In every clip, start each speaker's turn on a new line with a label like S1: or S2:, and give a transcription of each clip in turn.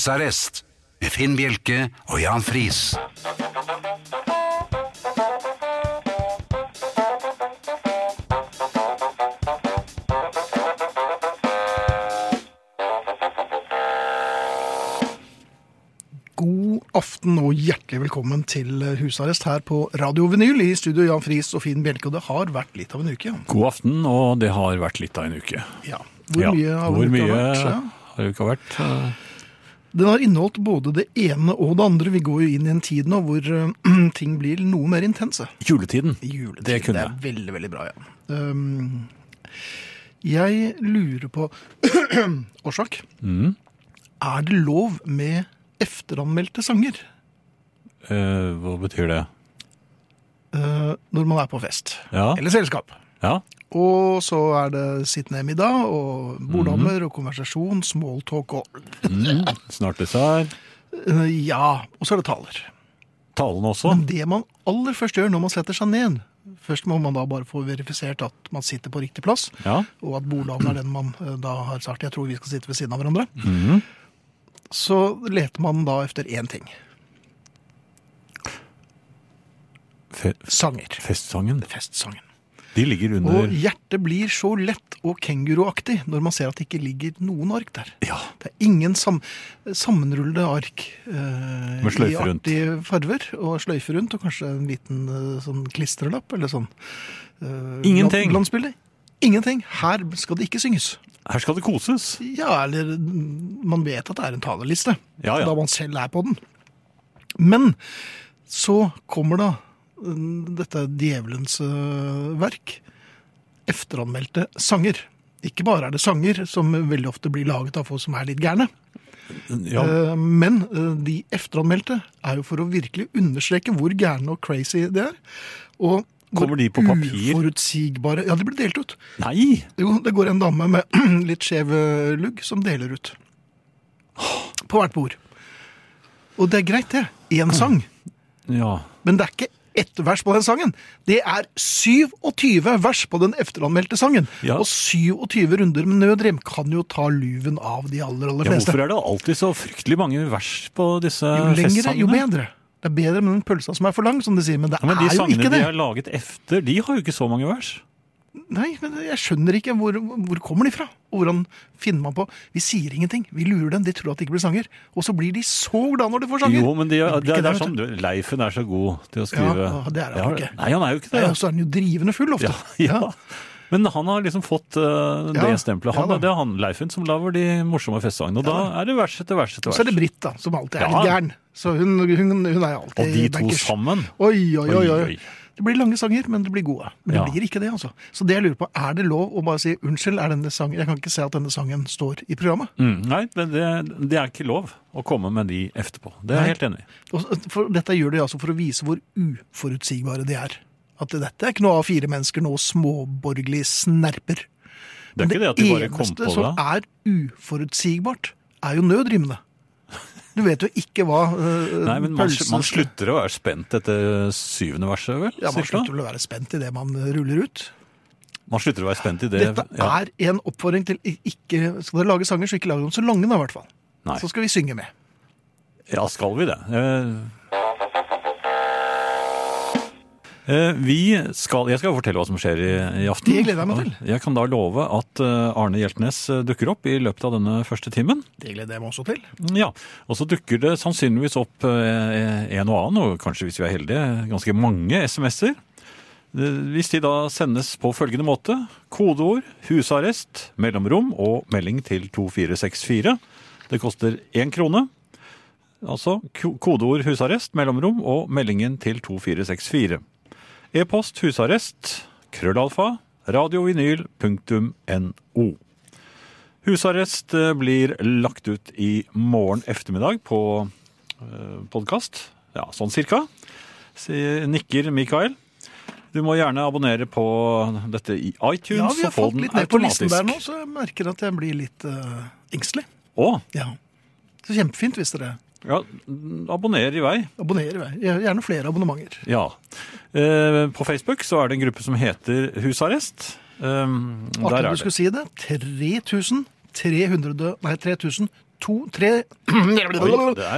S1: Husarrest med Finn Bjelke og Jan Friis.
S2: God aften og hjertelig velkommen til eh, husarrest her på Radio Vinyl. I studio Jan Friis og Finn Bjelke, og det har vært litt av en uke. Jan.
S3: God aften, og det har vært litt av en uke.
S2: Ja. Hvor
S3: Ja,
S2: mye har
S3: Hvor
S2: det
S3: mye
S2: vært? Ja.
S3: har uka vært?
S2: Den har inneholdt både det ene og det andre. Vi går jo inn i en tid nå hvor eh, ting blir noe mer intense.
S3: Juletiden.
S2: Juletid.
S3: Det kunne
S2: det er veldig, veldig bra, ja. Um, jeg lurer på Årsak.
S3: Mm.
S2: Er det lov med efteranmeldte sanger
S3: Eh, hva betyr det?
S2: eh, når man er på fest?
S3: Ja.
S2: Eller selskap?
S3: Ja,
S2: Og så er det sitt ned middag og bordhammer og konversasjon, smalltalk og
S3: snart dessert.
S2: Eh, Ja, og så er det taler.
S3: Talene også.
S2: Men det man aller først gjør når man setter seg ned Først må man da bare få verifisert at man sitter på riktig plass,
S3: Ja.
S2: og at bordhavn er den man eh, da har sagt jeg tror vi skal sitte ved siden av hverandre. Så leter man da efter én ting.
S3: Fe
S2: Sanger.
S3: festsangen.
S2: Festsangen.
S3: De ligger under
S2: Og hjertet blir så lett og kenguruaktig når man ser at det ikke ligger noen ark der.
S3: Ja.
S2: Det er ingen sam sammenrullede ark eh,
S3: Med
S2: i
S3: sløyfe rundt.
S2: artige farver, og sløyfe rundt, og kanskje en liten eh, sånn klistrelapp eller sånn. eh,
S3: Ingenting.
S2: glan- Glansbilde. Ingenting. Her skal det ikke synges.
S3: Her skal det koses.
S2: Ja, eller mm, man vet at det er en talerliste,
S3: Ja, ja.
S2: da man selv er på den. Men så kommer da mm, dette djevelens eh, verk, efteranmeldte sanger. Ikke bare er det sanger, som veldig ofte blir laget av folk som er litt gærne,
S3: Ja.
S2: Eh, Men eh, de efteranmeldte er jo for å virkelig understreke hvor gærne og crazy det er. Og hvor
S3: Kommer de på papir?
S2: Uforutsigbare Ja, de blir delt ut.
S3: Nei!
S2: Jo, det går en dame med litt skjev eh, lugg som deler ut. På hvert bord. Og det er greit, det. Én sang.
S3: Ja.
S2: Men det er ikke ett vers på den sangen. Det er 27 vers på den efteranmeldte sangen.
S3: Ja.
S2: Og 27 runder med nødrem kan jo ta luven av de aller, aller
S3: ja.
S2: fleste.
S3: Hvorfor er det alltid så fryktelig mange vers på disse
S2: Jo lengre,
S3: festsangene?
S2: jo bedre. Det er bedre med den pølsa som er for lang, som de sier, men det
S3: Ja, men de
S2: er jo
S3: sangene
S2: ikke
S3: de
S2: det.
S3: har laget efter, de har jo ikke så mange vers.
S2: Nei, men jeg skjønner ikke hvor, hvor kommer de fra. Og hvordan finner man på Vi sier ingenting, vi lurer dem, de tror at det ikke blir sanger. Og så blir de så glad når de får sanger.
S3: Jo, men de, det,
S2: blir ikke
S3: er- det
S2: det,
S3: er
S2: vet
S3: sånn, du, Leifen er så god til å skrive.
S2: Ja, det er han
S3: Ja,
S2: ikke.
S3: Nei, han er jo ikke det.
S2: Nei, og så er den jo drivende full ofte.
S3: Ja, ja. Men han har liksom fått eh,
S2: Ja,
S3: det stempelet. Han,
S2: ja da.
S3: det er han, Leifen, som lager de morsomme festsangene. Og da er det vers etter vers etter
S2: Så er det
S3: vers.
S2: Britt, da, som alltid er
S3: Ja.
S2: litt gæren. Så hun, hun, hun er alltid
S3: Og de to
S2: bankers.
S3: sammen.
S2: Oi, oi, oi.
S3: Oi,
S2: oi.
S3: oi.
S2: Det blir lange sanger, men det blir gode. Men
S3: Ja.
S2: det blir ikke det, altså. Så det jeg lurer på, er det lov å bare si unnskyld, er denne sangen Jeg kan ikke se at denne sangen står i programmet.
S3: Mm, nei, men det, det er ikke lov å komme med de etterpå. Det er jeg helt enig i.
S2: Og for, dette gjør de altså for å vise hvor uforutsigbare de er. At dette er ikke noe av fire mennesker, noe småborgerlige snerper.
S3: Det er ikke det at de bare kom
S2: eneste
S3: på
S2: som
S3: det.
S2: er uforutsigbart, er jo nødrimene. Du vet jo ikke hva eh,
S3: Nei, men man,
S2: pølse-
S3: man slutter å være spent etter syvende verset, vel?
S2: ja, Man
S3: cirka?
S2: slutter vel å være spent i det man eh, ruller ut.
S3: man slutter å være spent i det.
S2: Dette er en oppfordring til i- ikke Skal dere lage sanger, så ikke lag dem så lange, da, i hvert fall.
S3: Nei.
S2: Så skal vi synge med.
S3: Ja, skal vi det? Eh, eh, Vi skal, jeg skal fortelle hva som skjer i, i aften.
S2: Det gleder jeg meg til.
S3: Jeg kan da love at eh, Arne Hjeltnes eh, dukker opp i løpet av denne første timen. Mm,
S2: Det gleder jeg meg også til.
S3: Ja, Og så dukker det sannsynligvis opp eh, en og annen, og kanskje hvis vi er heldige, ganske mange SMS-er. Eh, Hvis de da sendes på følgende måte kodeord, husarrest, mellomrom og melding til 2464. Det koster én krone. Altså ko- kodeord husarrest, mellomrom og meldingen til 2464. E-post husarrest, krøllalfa, radiovinyl.no. Husarrest eh, blir lagt ut i morgen eftermiddag på podkast. Ja, sånn cirka. Sier- Nikker Mikael. Du må gjerne abonnere på dette i iTunes.
S2: Ja, vi har
S3: og få
S2: falt
S3: den
S2: litt ned på listen
S3: automatisk.
S2: der nå, så jeg merker at jeg blir litt eh, engstelig.
S3: Å,
S2: Ja. Så kjempefint hvis dere
S3: ja, abonner i vei.
S2: abonnerer. jeg. Gjerne flere abonnementer.
S3: Ja. Eh, på Facebook så er det en gruppe som heter Husarrest. Um,
S2: Artig
S3: der
S2: du
S3: er det.
S2: skulle si det. 3300 Nei, 3200 to, tre,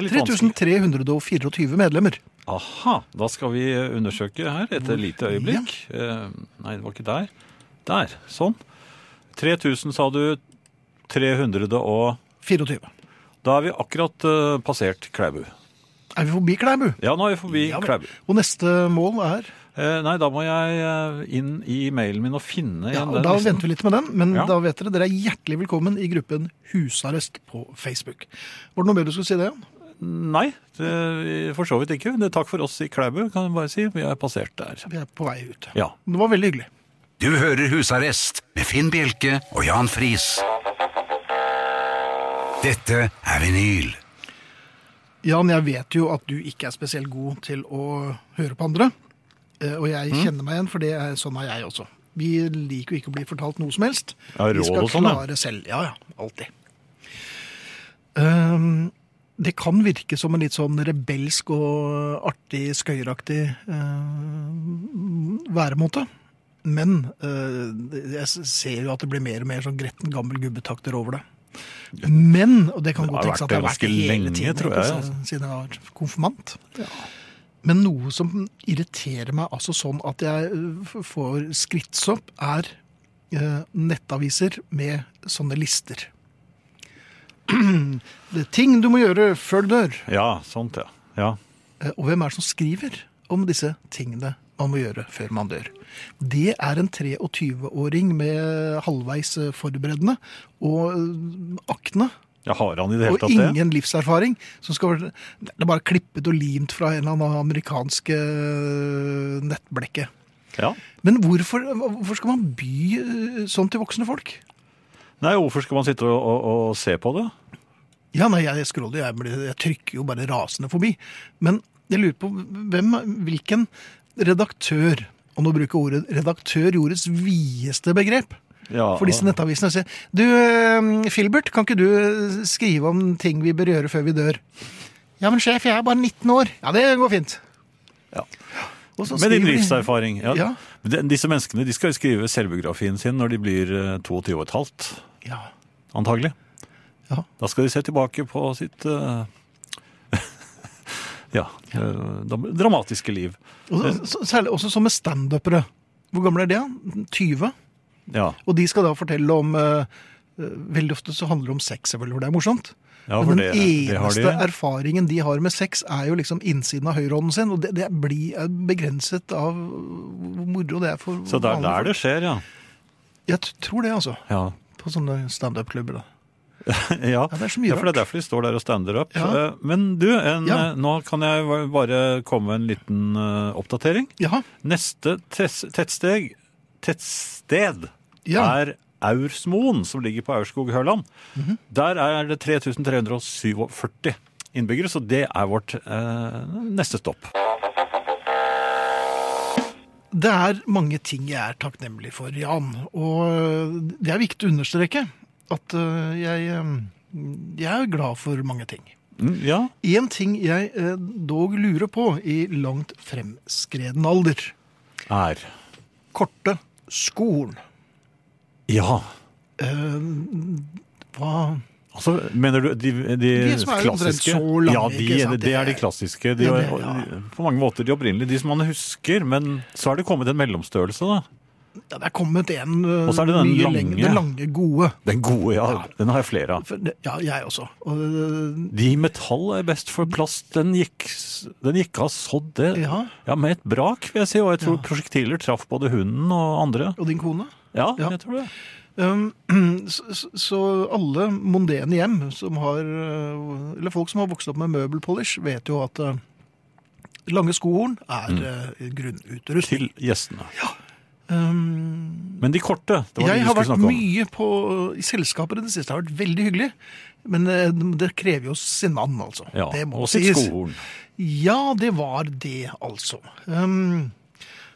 S3: litt
S2: 3324 medlemmer.
S3: Aha, da skal vi undersøke her et lite øyeblikk. Eh, Nei, det var ikke der. Der, sånn. 3000 sa du, 300 og
S2: 24.
S3: Da er vi akkurat eh, passert Klæbu.
S2: Er vi forbi Klæbu?
S3: Ja, nå er vi forbi
S2: Ja vel.
S3: Klæbu.
S2: Og neste mål er
S3: Eh, Nei, da må jeg eh, inn i mailen min og finne
S2: ja,
S3: igjen
S2: og Da venter vi litt med den, men
S3: Ja.
S2: da vet dere dere er hjertelig velkommen i gruppen Husarrest på Facebook. Var det noe mer du skulle si det? Jan?
S3: Nei, det, for så vidt ikke. Det, takk for oss i Klæbu, kan jeg bare si. Vi er passert der.
S2: Vi er på vei ut.
S3: Ja.
S2: Det var veldig hyggelig.
S1: Du hører Husarrest med Finn Bjelke og Jan Friis. Dette er vinyl.
S2: Jan, jeg vet jo at du ikke er spesielt god til å høre på andre. Eh, Og jeg
S3: Mm.
S2: kjenner meg igjen, for det er, sånn er jeg også. Vi liker jo ikke å bli fortalt noe som helst.
S3: Ja,
S2: vi
S3: råd
S2: skal
S3: og sånn, ja.
S2: klare selv. Ja, ja. Alltid. Ehm, det kan virke som en litt sånn rebelsk og artig, skøyeraktig eh, væremåte. Men eh, jeg ser jo at det blir mer og mer sånn gretten gammel gubbetakter over det. Men, og det kan
S3: Det
S2: godt
S3: har
S2: tenkes
S3: vært
S2: at det har vært
S3: det ganske
S2: det hele
S3: lenge,
S2: tiden,
S3: tror
S2: ikke,
S3: jeg, altså.
S2: siden- siden jeg var konfirmant. Men noe som irriterer meg altså sånn at jeg øh, f- får skrittsopp, er øh, nettaviser med sånne lister. Det er ting du må gjøre før du dør.
S3: Ja, sånt, ja. ja.
S2: Eh, Og hvem er det som skriver om disse tingene man må gjøre før man dør? Det er en 23-åring med halvveis eh, forberedende og eh, akne.
S3: Ja, har han i det hele
S2: Og
S3: tatt det?
S2: ingen livserfaring. Som skal, være- det er bare klippet og limt fra en eller annen amerikanske øh, nettblekke.
S3: Ja.
S2: Men hvorfor, hvorfor skal man by øh, sånn til voksne folk?
S3: Nei, hvorfor skal man sitte og, og, og se på det?
S2: Ja, nei, jeg scroller, jeg, blir- jeg trykker jo bare rasende forbi. Men jeg lurer på hvem, hvilken redaktør, og nå bruker jeg ordet redaktør jordets videste begrep,
S3: Ja,
S2: for disse nettavisene og sier Du, eh, Filbert, kan ikke du eh, skrive om ting vi bør gjøre før vi dør? Ja, men sjef, jeg er bare 19 år. Ja, det går fint.
S3: Ja.
S2: Og så
S3: Med din
S2: skriver de-
S3: livserfaring. Ja.
S2: Ja.
S3: Men de- Disse menneskene de skal jo skrive selvbiografien sin når de blir eh, 22 og et halvt,
S2: Ja.
S3: antagelig.
S2: Ja.
S3: Da skal de se tilbake på sitt eh, ja, eh, dam- dramatiske liv.
S2: Og så- særlig også som med standupere. Hvor gammel er det? da? 20?
S3: Ja,
S2: Og de skal da fortelle om eh, eh, Veldig ofte så handler det om sex, vel, hvor det er morsomt.
S3: ja for
S2: Men
S3: det,
S2: den
S3: det har
S2: eneste
S3: de.
S2: erfaringen de har med sex, er jo liksom innsiden av høyrehånden sin. Og det, det blir er begrenset av hvor moro det er for
S3: Så det er der
S2: folk.
S3: det skjer, ja.
S2: Jeg t- tror det, altså.
S3: Ja,
S2: På sånne standup-klubber. da.
S3: ja.
S2: Ja, det er så mye
S3: Ja, for det er
S2: rart.
S3: derfor de står der og stander opp.
S2: Ja.
S3: Eh, Men du, en,
S2: Ja.
S3: eh, nå kan jeg bare komme med en liten eh, oppdatering.
S2: Jaha.
S3: Neste tess- tettsteg, tettsted
S2: Ja. Mhm.
S3: er Aursmoen, som ligger på Aurskog-Hørland. Der er det 3347 innbyggere, så det er vårt eh, neste stopp.
S2: Det er mange ting jeg er takknemlig for, Jan. Og eh, det er viktig å understreke at eh, jeg, eh, jeg er glad for mange ting.
S3: Mm, ja,
S2: Én ting jeg eh, dog lurer på i langt fremskreden alder.
S3: er.
S2: Korte skolen.
S3: Ja,
S2: Hva
S3: altså mener du de, de,
S2: De som er omtrent
S3: klassiske?
S2: så lange,
S3: ja, de,
S2: ikke sant?
S3: det er de klassiske. De,
S2: Ja, det- ja.
S3: På mange måter de opprinnelige, de som man husker, men så er det kommet en mellomstørrelse da.
S2: Ja, det er kommet en eh,
S3: Og så er det den
S2: mye
S3: lange.
S2: lenger. Den lange, gode.
S3: Den gode, ja, den har jeg flere av.
S2: For, det- ja, jeg også. Og, eh,
S3: De i metall er best for plast. Den gikk, den gikk av sådd, det.
S2: Ja.
S3: med et brak, vil jeg si. Og jeg tror prosjektiler traff både hunden og andre.
S2: og din kone.
S3: Ja,
S2: Ja.
S3: jeg tror det.
S2: Um, så, så- så alle mondene hjem som har eh, Eller folk som har vokst opp med møbelpolish, vet jo at eh, lange skohorn er
S3: Mm.
S2: eh, grunnutrustning.
S3: Til gjestene.
S2: Um,
S3: Men de korte, det var
S2: Jeg
S3: de
S2: har
S3: du
S2: vært
S3: skulle snakke om.
S2: mye på, i selskaper i det siste. Det har vært veldig hyggelig. Men eh, det krever jo sin mann, altså.
S3: Ja,
S2: det må
S3: og sitt
S2: sies.
S3: skohorn.
S2: Ja, det var det, altså. Um,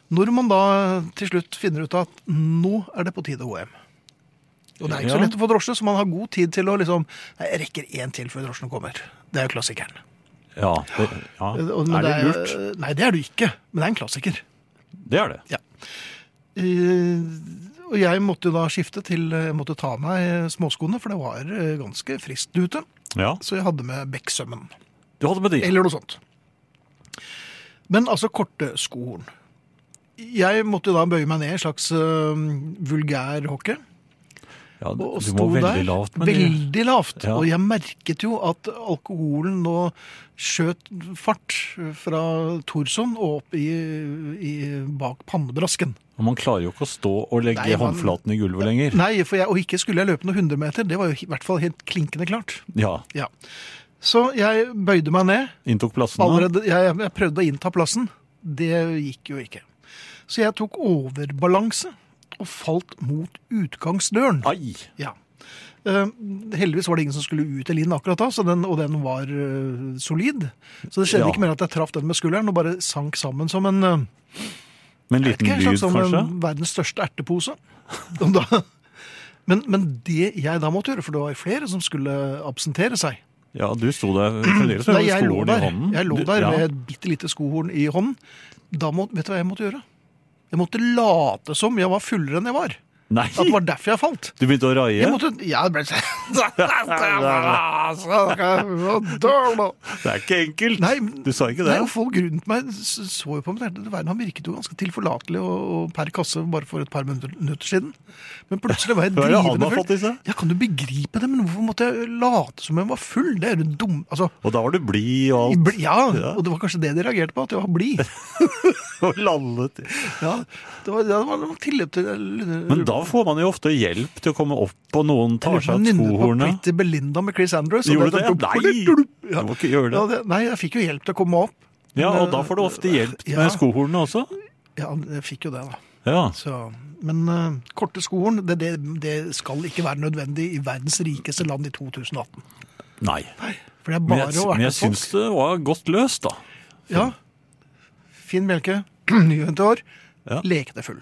S2: når man da til slutt finner ut at nå er det på tide å gå hjem. Og det er ikke så
S3: Ja.
S2: lett å få drosje, så man har god tid til å liksom Nei, jeg rekker én til før drosjen kommer. Det er jo klassikeren.
S3: Ja, det, ja.
S2: Og- men
S3: Er det
S2: jo-
S3: lurt?
S2: Nei, det er det jo ikke. Men det er en klassiker.
S3: Det er det.
S2: Eh, Og eh, jeg måtte jo da skifte til Jeg måtte ta av meg småskoene, for det var eh, ganske friskt ute.
S3: Ja,
S2: så jeg hadde med Bekkesømmen.
S3: Du hadde med de.
S2: Eller noe sånt. Men altså korte skohorn. Jeg måtte da bøye meg ned i en slags øh, vulgær hockey.
S3: Ja, du
S2: Og
S3: du
S2: sto
S3: må
S2: der,
S3: veldig lavt med de.
S2: veldig lavt.
S3: Ja.
S2: Og jeg merket jo at alkoholen nå skjøt fart fra Torson og opp i, i bak pannebrasken.
S3: Og man klarer jo ikke å stå og legge
S2: Nei, man-
S3: håndflaten i gulvet lenger.
S2: Nei, for jeg, og ikke skulle jeg løpe noen 100 meter. Det var jo i hvert fall helt klinkende klart.
S3: Ja,
S2: Ja. Så jeg bøyde meg ned.
S3: Inntok plassene.
S2: Allerede, jeg, jeg prøvde å innta plassen. Det gikk jo ikke. Så jeg tok overbalanse og falt mot utgangsdøren.
S3: Ai!
S2: Ja. Eh, heldigvis var det ingen som skulle ut eller inn akkurat da, så den, og den var eh, solid. Så det skjedde
S3: Ja.
S2: ikke mer at jeg traff den med skulderen og bare sank sammen som en eh,
S3: Med
S2: jeg
S3: en
S2: vet
S3: liten
S2: ikke, en
S3: lyd,
S2: slags som
S3: kanskje?
S2: en verdens største ertepose. Og da, men, men det jeg da måtte gjøre, for det var flere som skulle absentere seg
S3: Ja, du sto der fremdeles
S2: um, Nei,
S3: med
S2: jeg lå
S3: skolen i
S2: der,
S3: hånden.
S2: jeg lå
S3: Du-
S2: der
S3: ja.
S2: med et bitte lite skohorn i hånden. Da må, vet du hva jeg måtte gjøre? Jeg måtte late som jeg var fullere enn jeg var.
S3: Nei!
S2: At det var derfor jeg falt.
S3: Du begynte å raie?
S2: Jeg måtte Ja, det ble altså, sånn
S3: Det er ikke enkelt!
S2: Nei,
S3: Du sa ikke det?
S2: nei, og folk rundt meg s- så jo på meg. tenkte, Verden, han virket jo ganske tilforlatelig og, og per kasse bare for et par minutter minutter siden. Men plutselig var jeg
S3: Hva er det han
S2: drivende
S3: har fått
S2: full.
S3: i seg?
S2: Ja, kan du begripe det? Men hvorfor måtte jeg late som jeg var full? Det er jo dumt. Altså,
S3: Og da var du blid og
S2: i
S3: alt.
S2: bli- ja,
S3: Ja.
S2: og det var kanskje det de reagerte på, at jeg var blid.
S3: Og landet.
S2: Ja, det var, det var noen tilløp til Men
S3: Men da får man jo ofte hjelp til å komme opp, og noen tar seg av skohornet.
S2: sånn Pretty Belinda med Chris Andrews. og sånn
S3: Gjorde du det? Nei! Du
S2: Ja.
S3: må ikke gjøre
S2: Ja,
S3: det.
S2: det, nei, jeg fikk jo hjelp til å komme opp.
S3: Ja, og da får du ofte hjelp
S2: eh, Ja.
S3: med skohornet også.
S2: Ja, jeg fikk jo det, da.
S3: Ja.
S2: Så, men eh, korte skohorn, det, det, det skal ikke være nødvendig i verdens rikeste land i 2018.
S3: Nei.
S2: For det er
S3: Men
S2: bare
S3: jeg,
S2: å erte
S3: men jeg
S2: folk.
S3: syns det var godt løst, da.
S2: Ja. Finn melke, nyhent år,
S3: Ja.
S2: lek deg full.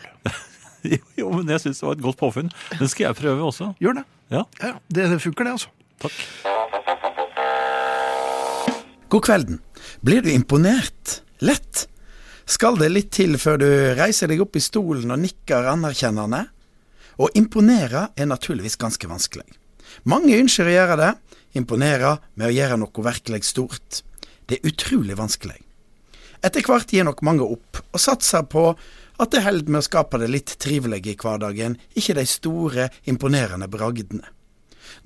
S3: Jo, men jeg syns det var et godt påfunn. Den skal jeg prøve også.
S2: Gjør det.
S3: Ja,
S2: Ja, ja. det, det funker, det, altså.
S3: takk.
S4: God kvelden. Blir du imponert? Lett? Skal det litt til før du reiser deg opp i stolen og nikker anerkjennende? Å imponere er naturligvis ganske vanskelig. Mange ønsker å gjøre det, imponere med å gjøre noe virkelig stort. Det er utrolig vanskelig. Etter hvert gir nok mange opp, og satser på at det holder med å skape det litt trivelige i hverdagen, ikke de store, imponerende bragdene.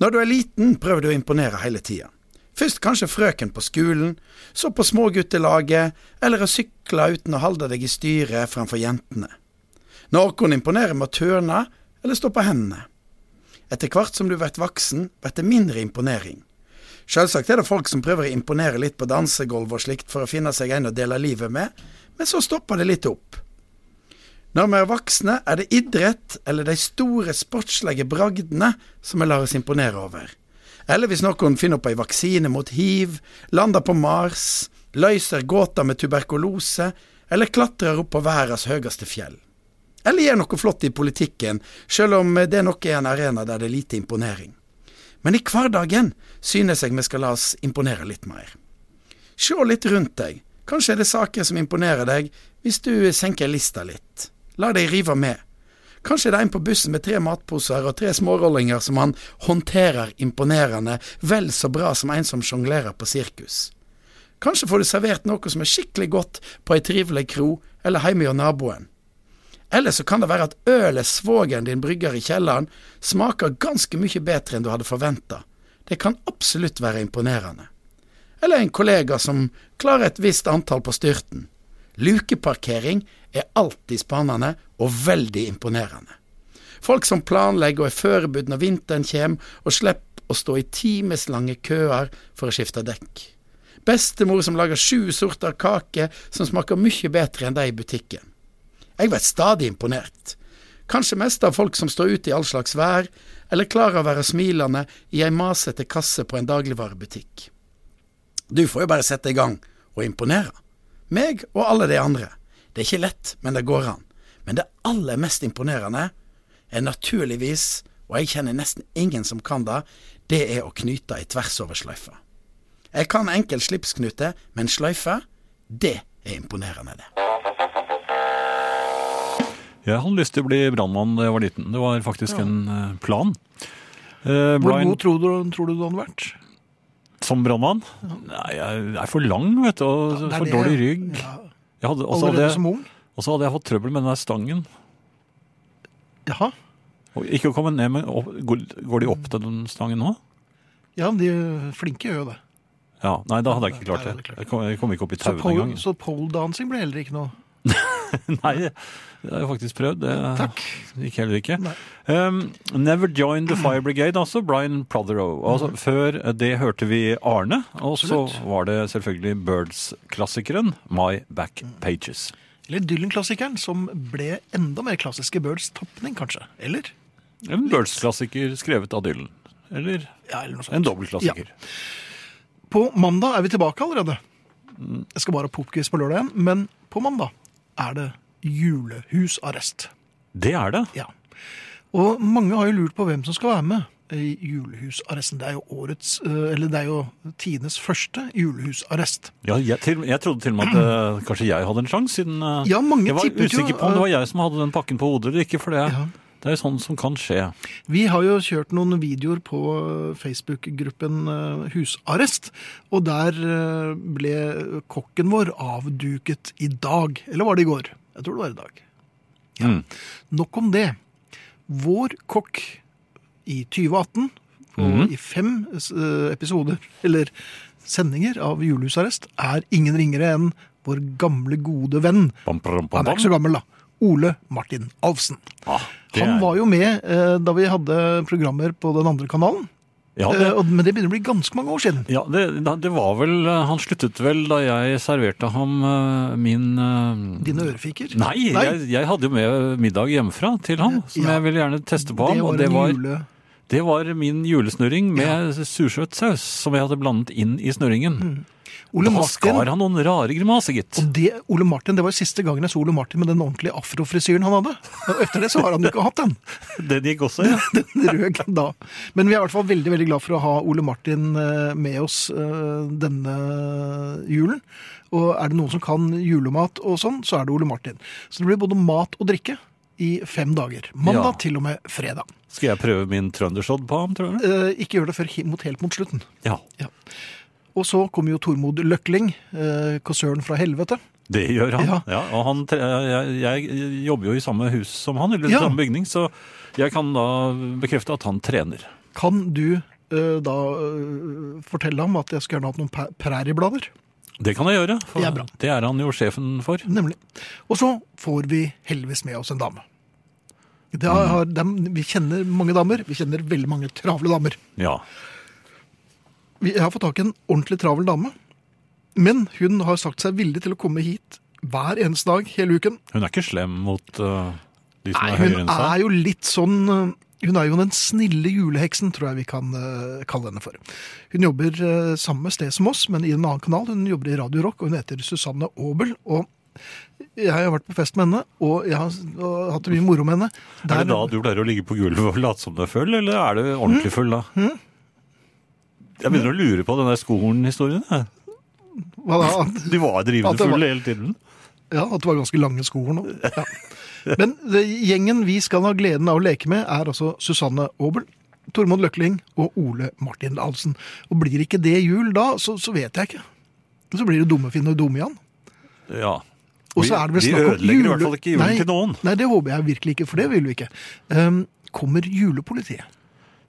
S4: Når du er liten, prøver du å imponere hele tida. Først kanskje frøken på skolen, så på småguttelaget, eller å sykle uten å holde deg i styret framfor jentene. Noen imponerer med å tørne eller stå på hendene. Etter hvert som du blir voksen, blir det mindre imponering. Selvsagt er det folk som prøver å imponere litt på dansegulv og slikt for å finne seg en å dele livet med, men så stopper det litt opp. Når vi er voksne, er det idrett eller de store sportslige bragdene som vi lar oss imponere over. Eller hvis noen finner opp ei vaksine mot hiv, lander på Mars, løser gåter med tuberkulose, eller klatrer opp på verdens høyeste fjell. Eller gjør noe flott i politikken, selv om det nok er en arena der det er lite imponering. Men i hverdagen synes jeg vi skal la oss imponere litt mer. Se litt rundt deg. Kanskje er det saker som imponerer deg hvis du senker lista litt. La deg rive med. Kanskje det er en på bussen med tre matposer og tre smårollinger som han håndterer imponerende vel så bra som en som sjonglerer på sirkus. Kanskje får du servert noe som er skikkelig godt på ei trivelig kro eller hjemme hos naboen. Eller så kan det være at ølet svogeren din brygger i kjelleren smaker ganske mye bedre enn du hadde forventa. Det kan absolutt være imponerende eller en kollega som klarer et visst antall på styrten. Lukeparkering er alltid spennende og veldig imponerende. Folk som planlegger og er forberedt når vinteren kommer, og slipper å stå i timeslange køer for å skifte dekk. Bestemor som lager sju sorter kake som smaker mye bedre enn de i butikken. Jeg blir stadig imponert. Kanskje mest av folk som står ute i all slags vær, eller klarer å være smilende i ei masete kasse på en dagligvarebutikk. Du får jo bare sette i gang og imponere. Meg og alle de andre. Det er ikke lett, men det går an. Men det aller mest imponerende er naturligvis, og jeg kjenner nesten ingen som kan det, det er å knyte ei tversoversløyfe. Jeg kan enkel slipsknute, men sløyfe, det er imponerende, det.
S3: Jeg hadde lyst til å bli brannmann da jeg var liten. Det var faktisk en eh, plan. Eh,
S2: Hvor
S3: Brian-
S2: god tror du, tror du du hadde vært?
S3: som brannmann? Nei, jeg er for lang, vet du, og
S2: det er
S3: for
S2: det.
S3: dårlig rygg.
S2: Ja,
S3: Jeg hadde, og så hadde
S2: allerede
S3: jeg,
S2: som ung?
S3: og så hadde jeg fått trøbbel med den der stangen.
S2: Jaha.
S3: Og ikke å komme ned, men opp, går, går de opp til den stangen nå?
S2: Ja, de flinke gjør jo det.
S3: Ja, Nei, da hadde jeg ikke
S2: Nei,
S3: klart
S2: nei,
S3: det.
S2: det er klart.
S3: Jeg kom, jeg kom ikke opp i
S2: Så
S3: tauene
S2: pole,
S3: engang.
S2: så pole dancing ble heller ikke noe.
S3: Nei, det har jeg faktisk prøvd. Det
S2: Takk.
S3: gikk heller ikke.
S2: Nei.
S3: Um, Never Join The Fire Brigade, altså. Brian Prothero. Altså, Før det hørte vi Arne, og så
S2: Mhm. Absolutt.
S3: var det selvfølgelig Birds-klassikeren My Back Pages.
S2: Eller Dylan-klassikeren, som ble enda mer klassisk i Birds tapning, kanskje. Eller? Mm.
S3: En Birds-klassiker skrevet av Dylan. Eller
S2: Ja, eller noe sånt.
S3: en dobbeltklassiker.
S2: På mandag er vi tilbake allerede. Jeg skal bare ha popquiz på lørdag igjen, men på mandag er det julehusarrest.
S3: Det er det.
S2: Ja. Og mange har jo lurt på hvem som skal være med i julehusarresten. Det er jo årets, eh, eller det er jo tidenes første julehusarrest.
S3: Ja, jeg, til, jeg trodde til og med at eh, kanskje jeg hadde en sjanse, siden eh,
S2: Ja, mange
S3: jeg var
S2: tippet jo,
S3: usikker på om det
S2: eh,
S3: var jeg som hadde den pakken på hodet eller ikke. For det er, det er jo sånn som kan skje.
S2: Vi har jo kjørt noen videoer på eh, Facebook-gruppen eh, Husarrest, og der eh, ble kokken vår avduket i dag. Eller var det i går? Jeg tror det var i dag.
S3: Mm.
S2: Nok om det. Vår kokk i 2018, på, i fem eh, episoder, eller sendinger av Julehusarrest, er ingen ringere enn vår gamle, gode venn.
S3: Bam, bam, bam,
S2: Han er
S3: bam.
S2: ikke så gammel, da. Ole Martin Alfsen.
S3: Ah, det
S2: Han
S3: er-
S2: var jo med eh, da vi hadde programmer på den andre kanalen,
S3: ja, det,
S2: eh, og- men det begynner å bli ganske mange år siden.
S3: Ja, det, da- det var vel eh, Han sluttet vel da jeg serverte ham eh, min eh,
S2: Dine ørefiker.
S3: Nei, Jeg, jeg hadde jo med middag hjemmefra til ham, som
S2: Ja.
S3: jeg ville gjerne teste på
S2: det
S3: ham.
S2: var
S3: og det
S2: en
S3: var,
S2: jule...
S3: det var min julesnurring med sursøt saus, som jeg hadde blandet inn i snurringen.
S2: Mm. Ole
S3: Da
S2: Martin,
S3: skar han noen rare grimaser, gitt.
S2: og det, Ole Martin, det var siste gangen jeg så Ole Martin med den ordentlige afrofrisyren han hadde. Og etter det så har han jo ikke hatt den.
S3: Den gikk også, ja.
S2: Den røg da. Men vi er i hvert fall veldig veldig glad for å ha Ole Martin eh, med oss eh, denne julen. Og er det noen som kan julemat og sånn, så er det Ole Martin. Så det blir både mat og drikke i fem dager. Mandag
S3: Ja.
S2: til og med fredag.
S3: Skal jeg prøve min trøndersodd på ham, tror du?
S2: Eh, ikke gjør det før he- mot, helt mot slutten.
S3: Ja,
S2: Og så kommer jo Tormod Løkling, eh, konsern fra helvete.
S3: det gjør han.
S2: Ja.
S3: Ja. og han, tre- jeg, jeg jobber jo i samme hus som han, eller
S2: Ja.
S3: samme bygning, så jeg kan da bekrefte at han trener.
S2: Kan du eh, da eh, fortelle ham at jeg skulle gjerne hatt noen pa- prærieblader?
S3: Det kan jeg gjøre. For
S2: Det
S3: det
S2: er
S3: er,
S2: bra.
S3: han jo sjefen for.
S2: Nemlig. Og så får vi heldigvis med oss en dame. Det har, dem, vi kjenner mange damer. Vi kjenner veldig mange travle damer.
S3: Ja.
S2: Vi jeg har fått tak i en ordentlig travel dame. Men hun har sagt seg villig til å komme hit hver eneste dag hele uken.
S3: Hun er ikke slem mot eh, de som
S2: Nei,
S3: er høyere
S2: hun
S3: enn seg.
S2: er jo litt sånn øh, Hun er jo den snille juleheksen, tror jeg vi kan øh, kalle henne for. Hun jobber øh, samme sted som oss, men i en annen kanal. Hun jobber i Radio Rock, og hun heter Susanne Aabel. Og jeg har vært på fest med henne, og jeg har og hatt det mye moro med henne.
S3: Er
S2: Der-
S3: det da du pleier å ligge på gulvet og late som du er full, eller er du
S2: Hm?
S3: ordentlig full da? Jeg begynner å lure på den der skolen-historien. jeg.
S2: hva da?
S3: Du var
S2: At det
S3: drivende
S2: var-
S3: full hele tiden.
S2: Ja, at det var ganske lange skoer nå. Ja. Men det, gjengen vi skal ha gleden av å leke med, er altså Susanne Aabel, Tormod Løkling og Ole Martin Dahlsen. Og blir ikke det jul da, så, så vet jeg ikke. Så blir det Dummefinn og Dumme-Jan.
S3: Ja.
S2: Og
S3: Vi-
S2: så er det vel
S3: vi
S2: snakk om
S3: ødelegger i hvert
S2: jule-
S3: fall ikke julen
S2: Nei,
S3: til noen.
S2: Nei, det håper jeg virkelig ikke, for det vil vi ikke. Ehm, kommer julepolitiet?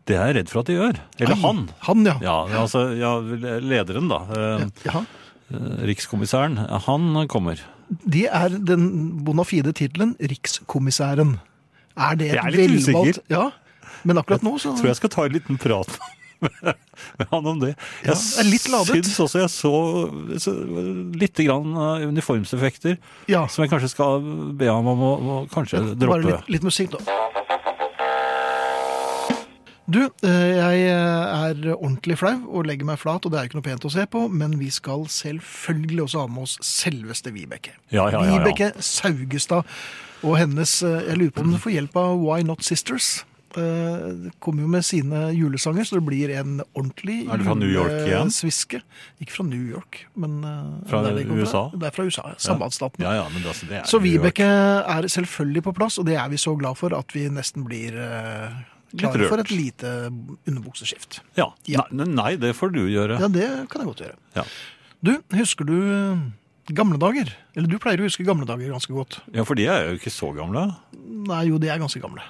S3: Det er jeg redd for at de gjør.
S2: Ai,
S3: Eller han.
S2: Han, ja.
S3: Ja, altså ja, lederen da. eh,
S2: Ja.
S3: eh, Rikskommissæren. Han kommer.
S2: Det er den bona fide tittelen Rikskommissæren. Er det et
S3: Jeg er litt
S2: velvalgt-
S3: usikker.
S2: Ja, men akkurat nå så
S3: tror jeg skal ta en liten prat med han om det.
S2: Ja, det er litt ladet.
S3: syns også jeg så, så litt grann eh, uniformseffekter
S2: Ja.
S3: som jeg kanskje skal be ham om å, å kanskje
S2: Bare
S3: droppe.
S2: litt, litt musikk, da. Du, eh, jeg er ordentlig flau og legger meg flat, og det er jo ikke noe pent å se på, men vi skal selvfølgelig også ha med oss selveste Vibeke.
S3: Ja, ja, ja, ja.
S2: Vibeke Saugestad og hennes eh, Jeg lurer på om du får hjelp av Why Not Sisters. Eh, de kommer jo med sine julesanger, så det blir en ordentlig
S3: Er det fra New York igjen?
S2: julesviske. Ikke fra New York, men eh,
S3: Fra
S2: det kommer
S3: USA?
S2: Det er fra USA, sambandsstaten.
S3: Ja, ja, men altså, det er
S2: Så
S3: jo-
S2: Vibeke er selvfølgelig på plass, og det er vi så glad for at vi nesten blir eh,
S3: Litt
S2: Klar for et
S3: rørt.
S2: lite underbukseskift.
S3: Ja.
S2: Ja.
S3: Nei, nei, det får du gjøre.
S2: Ja, det kan jeg godt gjøre.
S3: Ja.
S2: Du, husker du eh, gamle dager? Eller du pleier å huske gamle dager ganske godt.
S3: Ja, for de er jo ikke så gamle.
S2: Nei, jo, de er ganske gamle.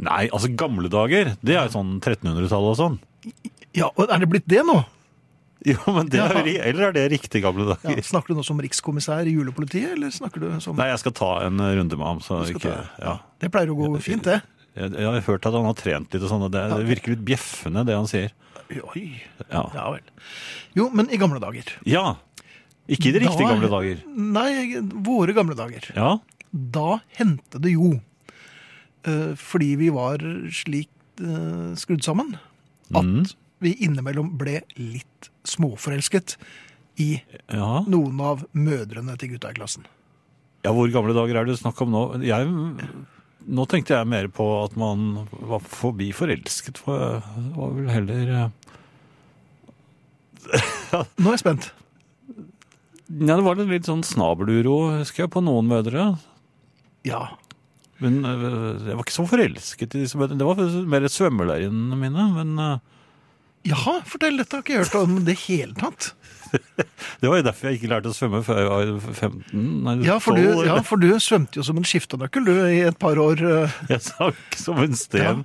S3: Nei, altså gamle dager, det er jo sånn 1300-tallet og sånn.
S2: Ja, og er det blitt det nå?
S3: Jo, men det er, jo
S2: Ja.
S3: ri- Eller er det riktig gamle
S2: Ja,
S3: dager?
S2: snakker du nå som rikskommissær i julepolitiet, eller snakker du som
S3: Nei, jeg skal ta en eh, runde med ham. Så
S2: skal
S3: ikke,
S2: ta-
S3: ja.
S2: Det pleier å gå fint, det.
S3: jeg, jeg har hørt at han har trent litt og sånn, og det, det virker litt bjeffende det han sier.
S2: Oi.
S3: Ja.
S2: Ja vel. Jo, men i gamle dager.
S3: ja. Ikke i de riktige
S2: Da-
S3: gamle dager.
S2: Nei, våre gamle dager.
S3: Ja.
S2: Da hendte det jo, eh, fordi vi var slik eh, skrudd sammen, at vi innimellom ble litt småforelsket i
S3: ja.
S2: noen av mødrene til gutta i klassen.
S3: Ja, hvor gamle dager er det snakk om nå? Jeg, nå tenkte jeg mer på at man var forbi forelsket. For det var vel heller eh,
S2: Nå er jeg spent.
S3: Ja, det var litt sånn snabeluro, husker jeg, på noen mødre.
S2: Ja.
S3: Men eh, jeg var ikke så forelsket i disse mødrene. Det var mer svømmelærerne mine. Men eh,
S2: Jaha, fortell, dette har ikke jeg hørt om det hele tatt.
S3: det var jo derfor jeg ikke lærte å svømme før jeg var 15. Nei,
S2: Ja, for du,
S3: 12,
S2: ja,
S3: eller-
S2: for du svømte jo som en skiftenøkkel du, i et par år. eh,
S3: Jeg sank som en sten.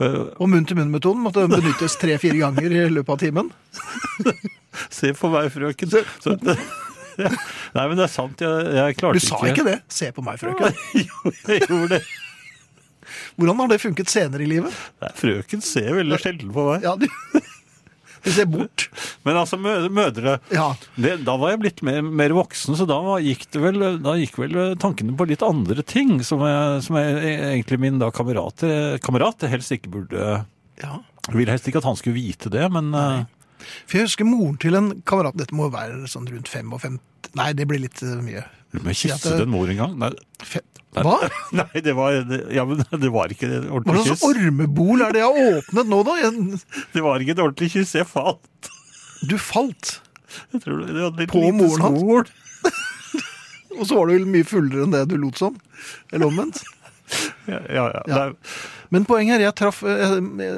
S3: Eh,
S2: Og munn-til-munn-metoden måtte benyttes tre-fire ganger i løpet av timen.
S3: Se på meg, frøken. Så, nei, men det er sant. Jeg, jeg klarte
S2: Du sa ikke det. Se på meg, frøken.
S3: Jo, jeg gjorde det.
S2: Hvordan har det funket senere i livet?
S3: Nei, frøken ser veldig sjelden på meg.
S2: Ja, du, du ser bort.
S3: Men altså, mø- mødre
S2: Ja.
S3: det, Da var jeg blitt mer, mer voksen, så da var, gikk, det vel, da gikk vel tankene på litt andre ting, som, jeg, som jeg, e-, egentlig min da kamerat, kamerat helst ikke burde
S2: ja.
S3: Ville helst ikke at han skulle vite det, men eh,
S2: For jeg husker moren til en kamerat Dette må være sånn rundt 55 Nei, det blir litt eh, mye.
S3: Men
S2: Ja,
S3: kysset
S2: det-
S3: en mor en gang? Nei,
S2: Fe- Hva?
S3: nei det, var, det, ja, men, det var ikke et
S2: Hva
S3: ordentlig
S2: slags
S3: kyss.
S2: ormebol er det jeg har åpnet nå, da? Jeg,
S3: Det var ikke et ordentlig kyss. Jeg falt.
S2: du falt.
S3: Jeg tror det var litt
S2: På
S3: lite
S2: moren hans?
S3: skål.
S2: Og så var du vel mye fullere enn det du lot som. Eller omvendt.
S3: Ja, ja, ja.
S2: Ja.
S3: Nei,
S2: Men poenget er, jeg traff eh,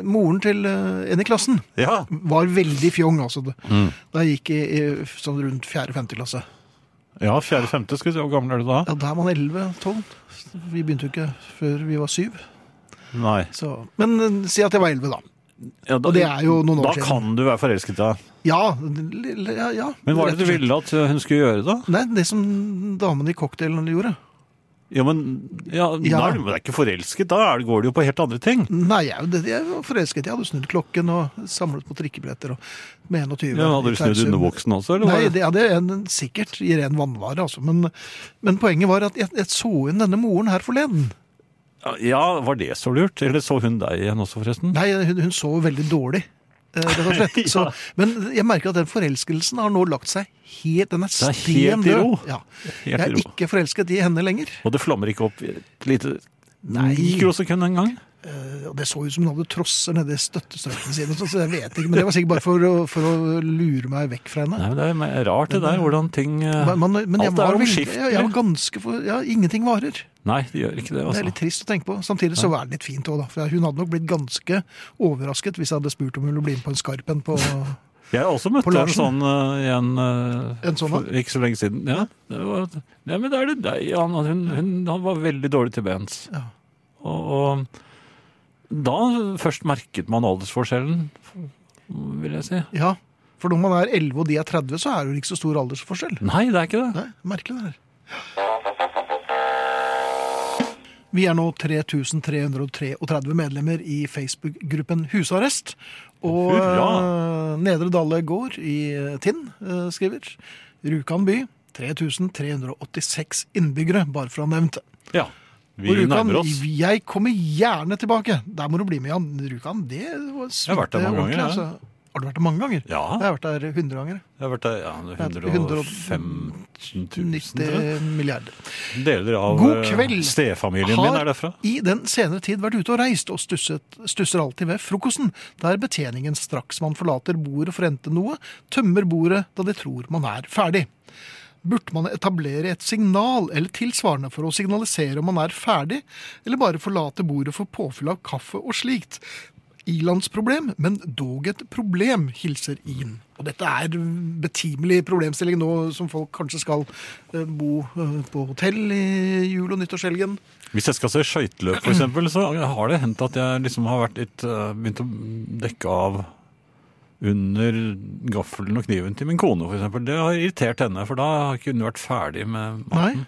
S2: moren til eh, en i klassen.
S3: ja.
S2: Var veldig fjong, altså.
S3: Mm.
S2: Da jeg gikk i, i sånn rundt 4.-5. klasse.
S3: ja fjerde-femte, skal vi se. Hvor gammel er du da?
S2: Ja, da er man 11-12. Vi begynte jo ikke før vi var syv.
S3: Nei.
S2: Så. Men eh, si at jeg var 11, da.
S3: Ja, da,
S2: Og det er jo noen år
S3: da
S2: siden.
S3: kan du være forelsket i henne.
S2: Ja, lille- ja, ja.
S3: Men hva er
S2: rett
S3: det
S2: og
S3: du
S2: slett.
S3: ville at eh, hun skulle gjøre, da?
S2: Nei, det som damene i cocktailen gjorde.
S3: Ja, men ja,
S2: Ja.
S3: Da er du men du er ikke forelsket, da er det- går det jo på helt andre ting.
S2: Nei, jeg, er jo det- jeg var forelsket. Jeg hadde snudd klokken og samlet på trikkebilletter og med 21.
S3: Ja, hadde
S2: i
S3: du snudd
S2: Tausum.
S3: underbuksen også, eller?
S2: Nei,
S3: var det...
S2: det hadde jeg en- sikkert i ren vannvare, altså. Men, men poenget var at jeg, jeg så inn denne moren her forleden.
S3: Ja, var det så lurt? Eller så hun deg igjen også, forresten?
S2: Nei, hun, hun så veldig dårlig. eh, Rett og slett. så,
S3: Ja.
S2: men jeg merker at den forelskelsen har nå lagt seg helt Den er
S3: er
S2: sten
S3: helt i ro.
S2: død. Ja.
S3: i
S2: Jeg er
S3: ro.
S2: ikke forelsket i henne lenger.
S3: Og det flammer ikke opp i et lite
S2: Nei.
S3: mikrosekund en gang?
S2: Eh, og Det så ut som hun hadde trosser nedi støttestøvlene sine. Så jeg vet ikke, men det var sikkert bare for å, for å lure meg vekk fra henne.
S3: Nei, men Det er me- rart det der, hvordan ting eh,
S2: Men, men, men jeg
S3: Alt
S2: var
S3: er
S2: veldig-
S3: omskiftelig.
S2: jeg, jeg var ganske for, ja, Ingenting varer.
S3: Nei, det gjør ikke det,
S2: Det er
S3: altså.
S2: litt trist å tenke på. Samtidig så var det litt fint òg, da. For hun hadde nok blitt ganske overrasket hvis jeg hadde spurt om hun ville bli med på en skarp en på
S3: Jeg har også møtt
S2: På
S3: en
S2: Larsen?
S3: sånn eh, igjen eh,
S2: En sånn,
S3: for ikke så lenge siden. Ja, det var, nei, men da er det deg, Jan. Hun, hun, han var veldig dårlig til bens.
S2: Ja.
S3: Og, og da først merket man aldersforskjellen, vil jeg si.
S2: Ja. For når man er 11 og de er 30, så er det jo ikke så stor aldersforskjell.
S3: Nei, det er ikke det.
S2: Nei, merkelig det her. Vi er nå 3333 medlemmer i Facebook-gruppen Husarrest. Og
S3: Hurra!
S2: eh, Nedre Dale gård i eh, Tinn eh, skriver Rjukan by 3386 innbyggere, bare for å ha nevnt det.
S3: Ja, Vi
S2: Og Rjukan,
S3: nærmer oss.
S2: Jeg kommer gjerne tilbake. Der må du bli med, Jan. Rjukan, det var
S3: Jeg har vært der mange
S2: ordentlig,
S3: ganger, jeg.
S2: altså. Har du vært der mange ganger?
S3: Ja,
S2: Jeg har vært der 100 ganger.
S3: jeg har vært der ja, 115 000.
S2: 90 milliarder.
S3: Deler av
S2: God
S3: eh,
S2: kveld.
S3: stefamilien min er derfra.
S2: i den senere tid vært ute og reist, og stusset, stusser alltid ved frokosten, der betjeningen straks man forlater bordet for å hente noe, tømmer bordet da de tror man er ferdig. Burde man etablere et signal eller tilsvarende for å signalisere om man er ferdig, eller bare forlate bordet for påfyll av kaffe og slikt? Ilandsproblem, men dog et problem, hilser Ian. Og dette er betimelig problemstilling nå som folk kanskje skal eh, bo eh, på hotell i jul- og nyttårshelgen.
S3: Hvis jeg skal se skøyteløp, f.eks., så har det hendt at jeg liksom har vært litt, eh, begynt å dekke av under gaffelen og kniven til min kone, f.eks. Det har irritert henne, for da har ikke hun vært ferdig med
S2: Nei?
S3: maten.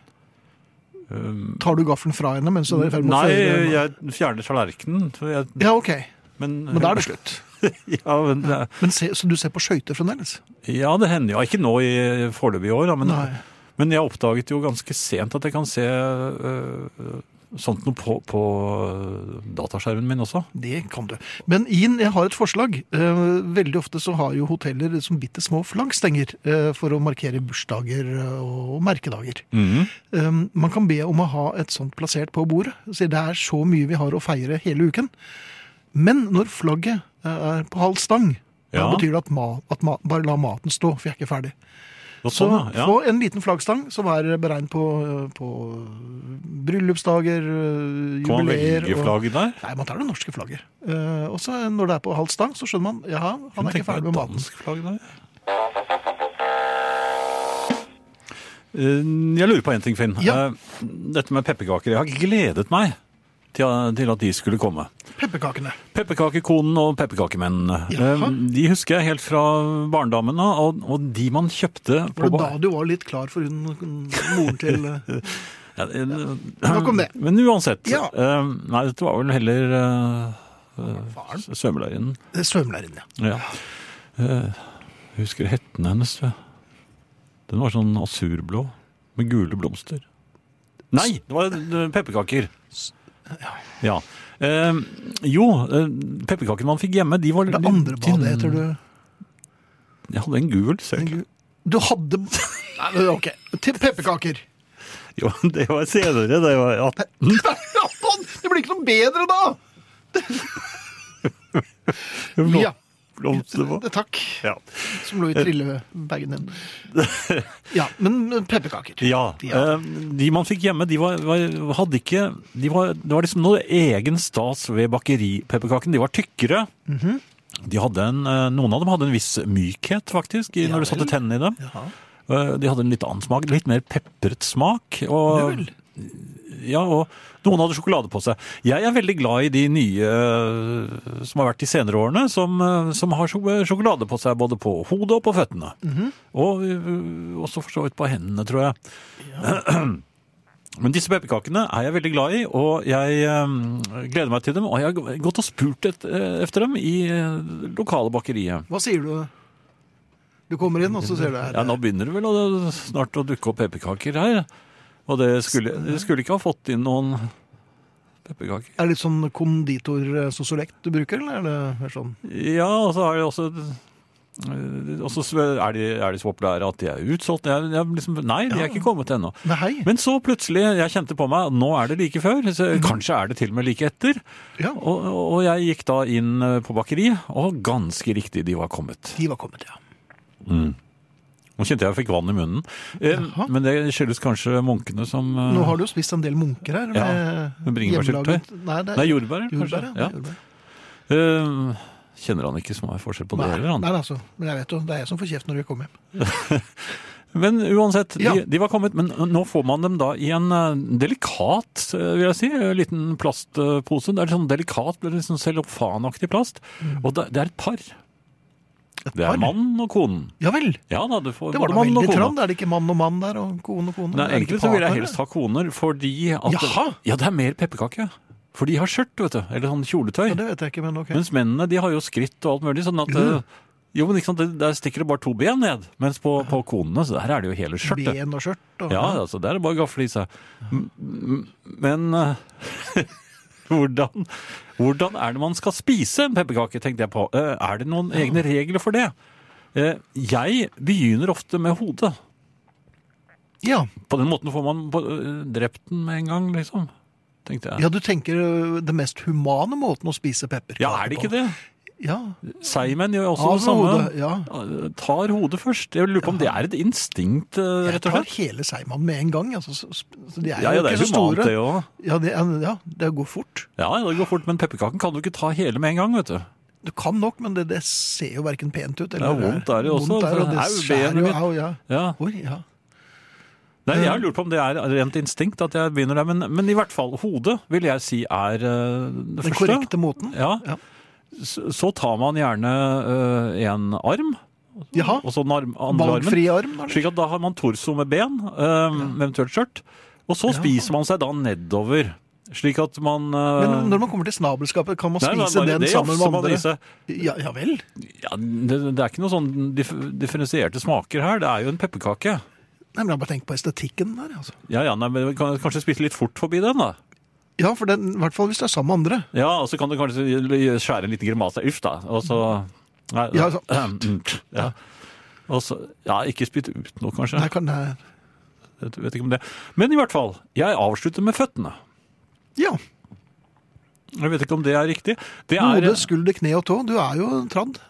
S3: Um,
S2: Tar du gaffelen fra henne mens du er i ferd med
S3: Nei,
S2: å føre-
S3: jeg fjerner tallerkenen. så Jeg,
S2: Ja, ok.
S3: men,
S2: Men da er det slutt.
S3: ja, men, det-
S2: Men se, så du ser på skøyter fremdeles?
S3: ja, det hender jo. Ikke nå i foreløpig i år, da, men,
S2: Nei.
S3: men jeg oppdaget jo ganske sent at jeg kan se øh, øh, sånt noe på, på øh, dataskjermen min også.
S2: Det kan du. Men Ian, jeg har et forslag. Eh, Veldig ofte så har jo hoteller som bitte små flankstenger eh, for å markere bursdager eh, og merkedager. Eh, Man kan be om å ha et sånt plassert på bordet. Si det er så mye vi har å feire hele uken. Men når flagget eh, er på halv stang, da
S3: Ja.
S2: betyr det at, ma, at ma, bare la maten stå, for jeg er ikke ferdig.
S3: Og
S2: Så
S3: sånn, ja.
S2: få en liten flaggstang som er beregnet på, på bryllupsdager, eh,
S3: Kan man
S2: jubileer
S3: velge
S2: og-
S3: flagget der?
S2: Nei, man tar det norske flagget. Eh, og så når det er på halv stang, så skjønner man jaha, han
S3: Kunne
S2: er ikke
S3: tenke meg
S2: ferdig med maten.
S3: dansk flagg der. Eh, Jeg lurer på en ting, Finn.
S2: Ja.
S3: Eh, Dette med pepperkaker. Jeg har gledet meg til til at de skulle komme.
S2: Pepperkakene.
S3: Pepperkakekonen og pepperkakemenn.
S2: Jaha.
S3: Eh, De husker jeg helt fra barndommen av, og, og de man kjøpte
S2: Var
S3: på
S2: det
S3: ba-
S2: da du var litt klar for hun, moren til eh,
S3: Ja, eh,
S2: Nok om det.
S3: Men uansett.
S2: Ja.
S3: eh, Nei, dette var vel heller eh,
S2: faren?
S3: uh, svømmeleiren.
S2: Svømmelæreren, ja.
S3: Ja. Eh, Jeg husker hetten hennes. vet du. Den var sånn asurblå med gule blomster. Nei, det var eh, pepperkaker. Ja. Eh, jo, eh, pepperkakene man fikk hjemme, de var
S2: Det andre badet, heter du.
S3: Jeg hadde en gul selv.
S2: Du hadde Nei, men OK. Til pepperkaker.
S3: Jo, det var senere. Det var 18.
S2: Ja, sånn! Det blir ikke noe bedre da!
S3: blom-
S2: Ja.
S3: Blomster på.
S2: Takk.
S3: Ja.
S2: Som lå i
S3: Eh.
S2: trillebagen din. Ja, men pepperkaker.
S3: Ja,
S2: Ja.
S3: eh, De man fikk hjemme, de var, var, hadde ikke de var, Det var liksom noe egen stas ved bakeripepperkaken. De var tykkere.
S2: Mhm.
S3: de hadde en, eh, noen av dem hadde en viss mykhet, faktisk, i- når du satte tennene i dem.
S2: Jaha.
S3: Eh, De hadde en litt annen smak, litt mer pepret smak. Og,
S2: Null.
S3: ja, og noen hadde sjokolade på seg. Jeg er veldig glad i de nye eh, som har vært de senere årene, som, eh, som har sjok- sjokolade på seg både på hodet og på føttene.
S2: Mhm.
S3: Og eh, også for så vidt på hendene, tror jeg. Men disse pepperkakene er jeg veldig glad i, og jeg eh, gleder meg til dem. Og jeg har gått og spurt et, eh, efter dem i eh, lokale bakeriet.
S2: Hva sier du? Du kommer inn, og så ser du her.
S3: Ja, nå begynner det vel å, eh, snart å dukke opp pepperkaker her. Og det skulle, jeg skulle ikke ha fått inn noen pepperkaker.
S2: Er det litt sånn konditor-sosiolekt du bruker, eller er det mer sånn?
S3: Ja, og så er det også eh, og så er de, er de så populære at de er utsolgt. Jeg, jeg liksom, nei, de er ikke kommet ennå.
S2: Nei, hei.
S3: Men så plutselig, jeg kjente på meg, nå er det like før, så kanskje er det til og med like etter.
S2: Ja.
S3: Og, og jeg gikk da inn eh, på bakeri, og ganske riktig, de var kommet.
S2: De var kommet, ja.
S3: Nå kjente jeg jeg fikk vann i munnen. Eh,
S2: Jaha.
S3: Men det skyldes kanskje munkene som eh,
S2: Nå har du jo spist en del munker her.
S3: Ja,
S2: med
S3: med bringebærsyltetøy.
S2: hjemmelaget- Nei, det
S3: Nei,
S2: er
S3: jordbær,
S2: jordbær.
S3: kanskje.
S2: Ja.
S3: Ja.
S2: det er jordbær.
S3: Eh, kjenner han ikke smak forskjell på det
S2: Nei,
S3: heller, han.
S2: nei, altså. Men jeg vet jo, det er jeg som får kjeft når jeg kommer hjem.
S3: Men uansett,
S2: Ja.
S3: de, de var kommet. Men eh, nå får man dem da i en eh, delikat, eh, vil jeg si, eh, liten plastpose. Det er sånn delikat, eller sånn cellofanaktig plast. Og det, det er et par. Det
S2: Mm. par?
S3: er mannen og konen.
S2: Ja vel!
S3: Ja da, du får
S2: Det var da
S3: både mannen og
S2: veldig
S3: kona.
S2: trangt. Er det ikke mann og mann der, og kone og kone?
S3: Nei,
S2: Er det
S3: egentlig
S2: ikke
S3: så vil
S2: par,
S3: jeg helst ha koner, fordi at
S2: Jaha!
S3: Ja, det er mer pepperkake. For de har skjørt, vet du. Eller sånn
S2: eller?
S3: kjoletøy.
S2: Ja, det vet jeg ikke, men ok.
S3: Mens mennene de har jo skritt og alt mulig. sånn at... eh, Jo, men ikke sant, det- Der stikker det bare to ben ned. Mens på, på konene så her er det jo hele skjørtet.
S2: Ben og skjørt. Og,
S3: Ja, altså, der er det bare gaffel i seg. M- m- Men eh, hvordan, hvordan er det man skal spise en pepperkake, tenkte jeg på. Eh, Er det noen egne regler for det? Eh, Jeg begynner ofte med hodet.
S2: Ja.
S3: På den måten får man eh, drept den med en gang, liksom. Tenkte jeg.
S2: øh, ja, du tenker ø, det mest humane måten å spise pepperkaker
S3: Ja, er det ikke det?
S2: på. Ja,
S3: Seigmenn gjør også
S2: Av
S3: det samme. Eh,
S2: hodet, ja.
S3: Tar hodet først. Jeg lurer på om det er et instinkt, eh,
S2: jeg
S3: rett og
S2: tar
S3: slett.
S2: hele Seigmann med en gang. Altså, så, så de er
S3: Ja,
S2: jo
S3: ja, det
S2: ikke
S3: er
S2: så
S3: humant,
S2: store.
S3: det òg.
S2: Ja, det, er- ja, det går fort.
S3: Ja, ja, det går fort, men pepperkaken kan du ikke ta hele med en gang, vet du.
S2: Du kan nok, men det, det ser jo verken pent ut.
S3: Ja, vondt er det også.
S2: Vondt er, det, og
S3: Det
S2: det
S3: er jo
S2: skjærer
S3: benet
S2: jo
S3: mitt.
S2: au, ja.
S3: Ja.
S2: Oi, ja.
S3: Nei,
S2: Eh.
S3: jeg har lurt på om det er rent instinkt at jeg begynner der, men, men i hvert fall hodet vil jeg si er eh, det
S2: Den
S3: første.
S2: korrekte måten.
S3: Ja.
S2: Ja.
S3: Så, så tar man gjerne eh, en arm,
S2: Jaha.
S3: og så den arm, andre armen.
S2: Valgfri arm, eller?
S3: Slik at da har man torso med ben, eh, eventuelt skjørt. Og så spiser man seg da nedover. Slik at man eh,
S2: Men når man kommer til snabelskapet, kan man
S3: nei, nei,
S2: spise
S3: nei,
S2: den
S3: det
S2: sammen
S3: jafser
S2: med
S3: man i
S2: andre?
S3: seg.
S2: Ja, ja vel.
S3: Ja, det, det er ikke noe sånn dif differensierte smaker her. Det er jo en pepperkake.
S2: Nei, men jeg bare tenk på estetikken der, altså.
S3: Ja, ja, nei, men vi kan kanskje spise litt fort forbi den, da.
S2: Ja, for den, i hvert fall hvis det er sammen med andre.
S3: Ja, og så kan du kanskje skjære en liten grimase. Uff, da. Og så Nei, mm,
S2: Ja, så-
S3: ja. Og så Ja, ikke spytt ut noe, kanskje.
S2: Nei, kan det...
S3: Jeg vet ikke om det. Men i hvert fall, jeg avslutter med føttene.
S2: Ja.
S3: Jeg vet ikke om det er riktig. Det er,
S2: Hode, skulder, kne og tå. Du er jo en tradd.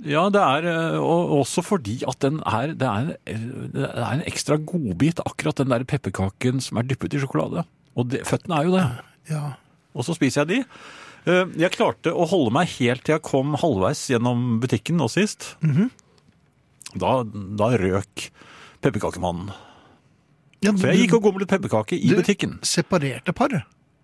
S3: ja, det er eh, og også fordi at den er, det, er, en- det er en ekstra godbit, akkurat den der pepperkaken som er dyppet i sjokolade. Og det, føttene er jo det.
S2: Ja.
S3: Og så spiser jeg de. Eh, Jeg klarte å holde meg helt til jeg kom halvveis gjennom butikken nå sist. da, da røk pepperkakemannen.
S2: ja
S3: Så jeg gikk og gomlet pepperkake i butikken.
S2: Separerte par.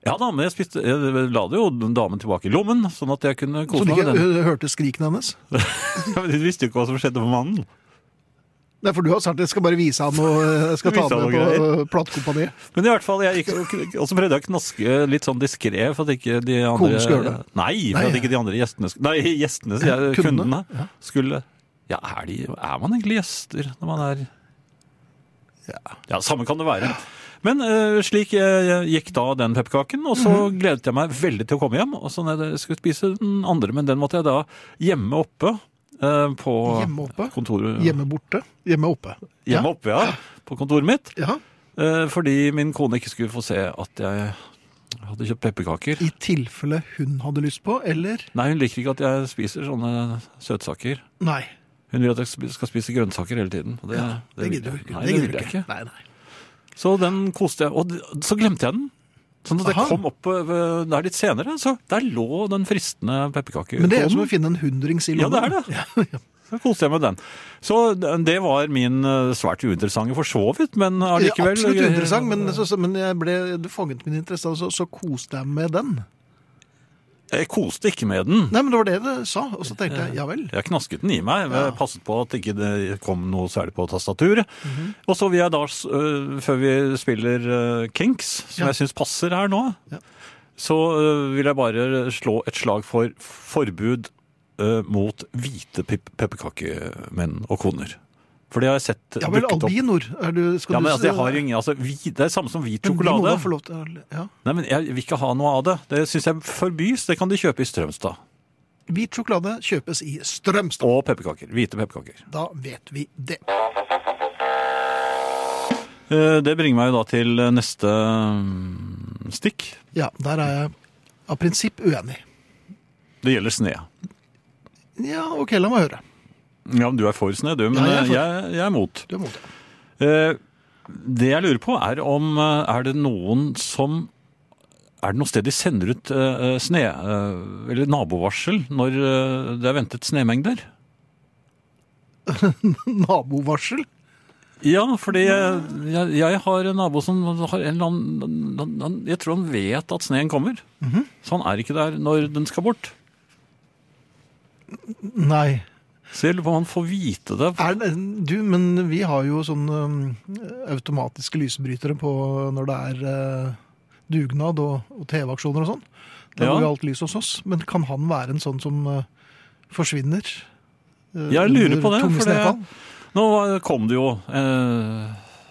S3: Ja da, men jeg, spiste, jeg la det jo damen tilbake i lommen, sånn at jeg kunne
S2: Så
S3: kose
S2: du
S3: meg
S2: ikke
S3: med den.
S2: ø, hørte skrikene hennes?
S3: Ja, men Hun visste jo ikke hva som skjedde med mannen.
S2: Nei, for du har sagt jeg skal bare vise han og ø, jeg skal ta
S3: Vise
S2: han
S3: han
S2: med
S3: noe
S2: på øh, ø, platekompaniet.
S3: Men i hvert fall, jeg gikk og så prøvde jeg å knaske litt sånn diskré for at ikke de andre
S2: Konen skulle høre det.
S3: Nei, for
S2: Nei,
S3: at ikke de andre gjestene sk- Nei, gjestene, sier jeg, kundene,
S2: Kundene,
S3: skulle Ja, er, de, er man egentlig gjester når man er Ja, samme kan det være. Men eh, slik eh, gikk da den pepperkaken, og så
S2: Mhm.
S3: gledet jeg meg veldig til å komme hjem. Og så når jeg skulle spise den andre, men den måtte jeg da gjemme oppe eh, på
S2: Hjemme oppe?
S3: kontoret.
S2: Hjemme borte. Hjemme oppe. Ja.
S3: Hjemme oppe, ja. På kontoret mitt.
S2: Ja.
S3: Eh, Fordi min kone ikke skulle få se at jeg hadde kjøpt pepperkaker.
S2: I tilfelle hun hadde lyst på, eller
S3: Nei, hun liker ikke at jeg spiser sånne søtsaker.
S2: Nei.
S3: Hun vil at jeg sp- skal spise grønnsaker hele tiden. og Det,
S2: Det
S3: vil
S2: gidder du
S3: jeg-
S2: ikke.
S3: Nei,
S2: Det
S3: det
S2: gidder
S3: vil
S2: du
S3: jeg ikke.
S2: Nei, nei.
S3: Så den koste jeg. Og d- så glemte jeg den. Sånn at jeg
S2: Aha.
S3: kom opp eh, der litt senere, så der lå den fristende pepperkake.
S2: Men det er jo som å finne en hundrings i
S3: Ja, det
S2: lommen.
S3: er det. Så koste jeg meg med den. Så d- det var min eh, svært uinteressante for så vidt, men allikevel eh,
S2: Absolutt interessant, men, så, så, men jeg ble, du fanget min interesse, og så, så koste jeg meg med den.
S3: Jeg koste ikke med den.
S2: Nei, men det var det det sa, og så tenkte jeg ja vel.
S3: Jeg knasket den i meg, jeg passet på at ikke det ikke kom noe særlig på tastaturet.
S2: Mhm.
S3: Og så vil jeg da, s- øh, før vi spiller øh, Kinks, som
S2: Ja.
S3: jeg syns passer her nå,
S2: Ja.
S3: så øh, vil jeg bare slå et slag for forbud øh, mot hvite pep- pepperkakemenn og koner. For det har jeg sett øh,
S2: Ja vel,
S3: dukket opp.
S2: albinoer. Er du, skal
S3: Ja, men
S2: du-
S3: altså, jeg har ingen, altså, hvit- det er samme som
S2: Men
S3: hvit
S2: de må
S3: sjokolade.
S2: da få lov til å- Ja.
S3: Nei, men Jeg vil ikke ha noe av det. Det syns jeg forbys. Det kan de kjøpe i Strømstad.
S2: Hvit sjokolade kjøpes i Strømstad.
S3: Og pepperkaker. Hvite pepperkaker.
S2: Da vet vi det.
S3: Eh, Det bringer meg jo da til eh, neste mm, stikk.
S2: Ja, der er jeg av prinsipp uenig.
S3: Det gjelder sne.
S2: Ja, OK, la meg høre.
S3: Ja, men Du er for sne, du.
S2: Ja,
S3: Men
S2: jeg er
S3: jeg,
S2: for.
S3: jeg, er mot.
S2: Du er mot det.
S3: Eh, Det jeg lurer på, er om eh, Er det noen som Er det noe sted de sender ut eh, sne... eh, Eller nabovarsel når eh, det er ventet snemengder?
S2: Nabovarsel.
S3: Ja, fordi jeg, jeg, jeg har en nabo som har en eller annen han- han- Jeg tror han vet at sneen kommer. Så han er ikke der når den skal bort.
S2: Nei.
S3: Så jeg lurer på om han får vite det.
S2: Er det, du, men vi har jo sånne øhm, automatiske lysbrytere på når det er øh, dugnad og, og TV-aksjoner og sånn. Da
S3: Ja.
S2: går jo alt lys hos oss. Men kan han være en sånn som øh, forsvinner? øh,
S3: Jeg lurer på
S2: under
S3: det,
S2: tunge
S3: for det-
S2: snefall?
S3: Nå var- kom det jo eh,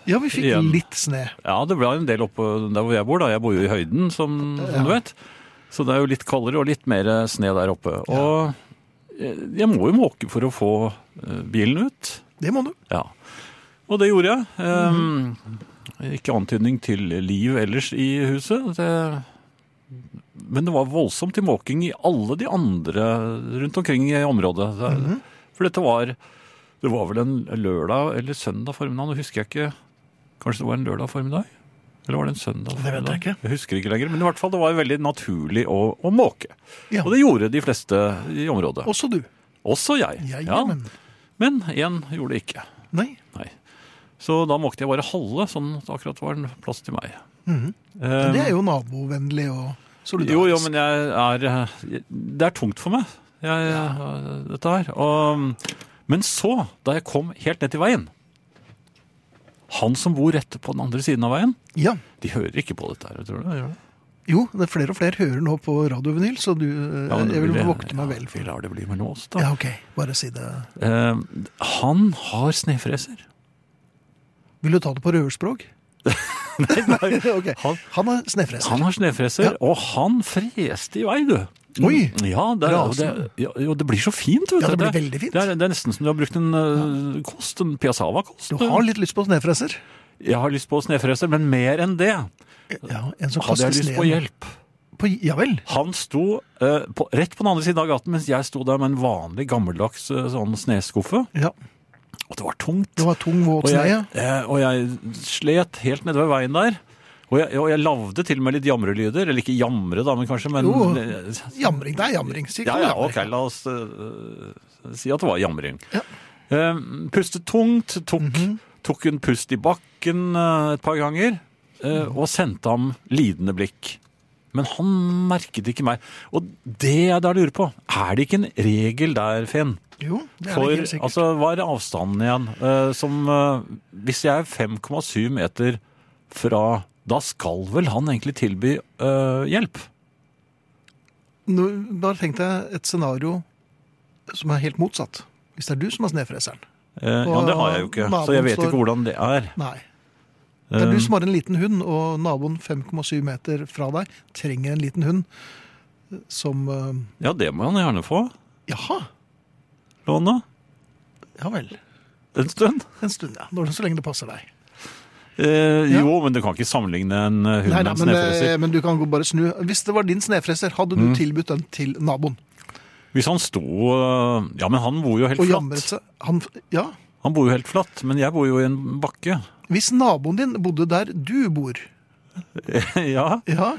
S2: Ja, vi fikk
S3: Igjen.
S2: litt sne.
S3: Ja, det ble en del oppe der hvor jeg bor. da. Jeg bor jo i høyden, som, som du vet. Så det er jo litt kaldere og litt mer sne der oppe. Og eh, jeg må jo måke for å få eh, bilen ut.
S2: Det må du.
S3: Ja. Mm. Og det gjorde jeg.
S2: Eh,
S3: Ehm, Ikke antydning til liv ellers i huset. Det Men det var voldsomt til måking i alle de andre rundt omkring i området. Det-
S2: Mhm.
S3: For dette var Det var vel en lørdag eller søndag formiddag, nå husker jeg ikke. Kanskje det var en lørdag formiddag? Eller var det en søndag?
S2: vet jeg
S3: formiddag?
S2: ikke.
S3: Jeg husker ikke lenger, men i hvert fall det var veldig naturlig å, å måke.
S2: Ja.
S3: Og det gjorde de fleste i området.
S2: Også du.
S3: Også jeg.
S2: Ja,
S3: Ja.
S2: ja, men
S3: Men én gjorde det ikke.
S2: Nei.
S3: Nei. Så da måkte jeg bare halve, sånn at det akkurat var en plass til meg.
S2: Mhm.
S3: Eh,
S2: Men Det er jo nabovennlig og solidarisk.
S3: Um, Jo, jo, men jeg er eh, Det er tungt for meg, jeg, eh, dette her. Og, men så, da jeg kom helt ned til veien Han som bor rett på den andre siden av veien,
S2: Ja.
S3: de hører ikke på dette her, tror du? Gjør de?
S2: Jo, det er flere og flere hører nå på radiovinyl, så du, eh,
S3: Ja, men det
S2: jeg vil
S3: blir-
S2: vokte meg vel
S3: Ja,
S2: for
S3: vi lar det bli mellom oss, da.
S2: Ja, ok. Bare si det.
S3: Eh, han har snefreser.
S2: Vil du ta det på røverspråk?
S3: Nei, nei.
S2: Ok.
S3: Han-
S2: Han er snefreser.
S3: Han har snefreser, og han freste i vei, du.
S2: Oi!
S3: Ja, det, er, det,
S2: Rasende.
S3: ja, jo, det blir så fint, vet du.
S2: Ja, det blir veldig fint.
S3: Det er, det er nesten som du har brukt en eh, kost, en
S2: Du
S3: piassava-kost.
S2: har litt lyst på snefreser?
S3: Jeg har lyst på snefreser, men mer enn det
S2: Ja, en som
S3: hadde
S2: kaster
S3: jeg lyst
S2: sneen
S3: på hjelp.
S2: på- Ja vel.
S3: Han sto eh, på, rett på den andre siden av gaten, mens jeg sto der med en vanlig gammeldags eh, sånn sneskuffe,
S2: Ja.
S3: og det var tungt.
S2: Det var tung, våt
S3: Og jeg,
S2: sne.
S3: eh, og jeg slet helt nede ved veien der. Og jeg, og jeg lavde til og med litt jamrelyder. Eller ikke jamre, da, men eh, kanskje men,
S2: Jo. Jamring. Det er jamring. Si
S3: Ja,
S2: ikke
S3: ja,
S2: noe
S3: ok,
S2: jamring.
S3: la oss eh, si at det var jamring.
S2: Ja. Mhm.
S3: Eh, pustet tungt, tok, tok en pust i bakken eh, et par ganger, eh,
S2: Mhm.
S3: og sendte ham lidende blikk. Men han merket ikke meg. Og det jeg da lurer på, er det ikke en regel der, Finn?
S2: Jo, det er
S3: For,
S2: det helt sikkert.
S3: altså, hva er avstanden igjen? Eh, som, eh, hvis jeg er 5,7 meter fra, da skal vel han egentlig tilby eh, hjelp?
S2: Nå, bare tenk deg et scenario som er helt motsatt. Hvis det er du som er snefreseren.
S3: Eh, ja, det har jeg jo ikke, så jeg vet ikke hvordan det er.
S2: Nei. Det er du
S3: Eh,
S2: som har en liten hund, og naboen 5,7 meter fra deg trenger en liten hund som eh,
S3: Ja, det må han gjerne få,
S2: Jaha,
S3: låne.
S2: ja vel.
S3: En stund.
S2: En stund, ja. Når- Så lenge det passer deg.
S3: Eh,
S2: Ja.
S3: Jo, men du kan ikke sammenligne en eh, hund
S2: Nei,
S3: med
S2: nei,
S3: en
S2: men, eh,
S3: snefreser. Mm.
S2: men du kan gå bare snu. Hvis det var din snefreser, hadde du tilbudt den til naboen?
S3: Hvis han sto eh, Ja, men han bor jo helt
S2: Og jamret seg?
S3: flatt.
S2: Han, ja.
S3: Han bor jo helt flatt, men jeg bor jo i en bakke.
S2: Hvis naboen din bodde der du bor,
S3: ja,
S2: ja,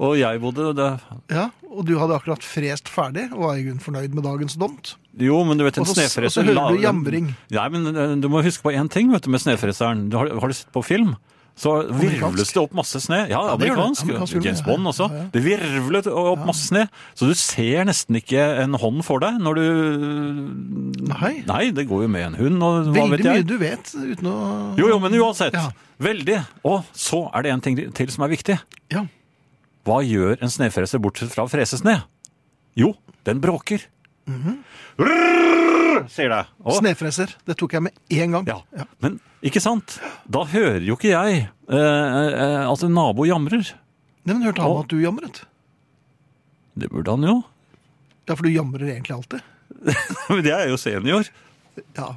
S3: og jeg bodde der.
S2: ja, og du hadde akkurat frest ferdig og var i grunnen fornøyd med dagens domt
S3: Jo, men du vet, en
S2: Og så-
S3: snefreser
S2: og så hører
S3: la-
S2: du jamring.
S3: Nei, men eh, du må huske på én ting vet du, med snefreseren. Du har, har du sett på film? Så virvles det opp masse sne. Ja,
S2: det gjør det.
S3: amerikansk.
S2: Amerikansk film,
S3: James
S2: ja,
S3: Bond
S2: ja,
S3: også.
S2: ja, ja.
S3: Det virvlet opp masse sne, så du ser nesten ikke en hånd for deg når du
S2: Nei.
S3: Nei, det går jo med en hund, og hva
S2: Veldig
S3: vet
S2: mye
S3: jeg.
S2: du vet uten å
S3: Jo, jo, men uansett.
S2: Ja.
S3: Veldig. Og så er det en ting til som er viktig.
S2: Ja.
S3: Hva gjør en snefreser bortsett fra å frese sne? Jo, den bråker.
S2: Mhm.
S3: Rrrr, sier det. Og,
S2: Snefreser. Det tok jeg med én gang.
S3: ja. Men ikke sant? Da hører jo ikke jeg eh, eh, at en nabo jamrer.
S2: Nei, men hørte han
S3: Og-
S2: at du jamret?
S3: Det burde han jo.
S2: Ja, for du jamrer egentlig alltid.
S3: Men jeg er jo senior.
S2: Ja.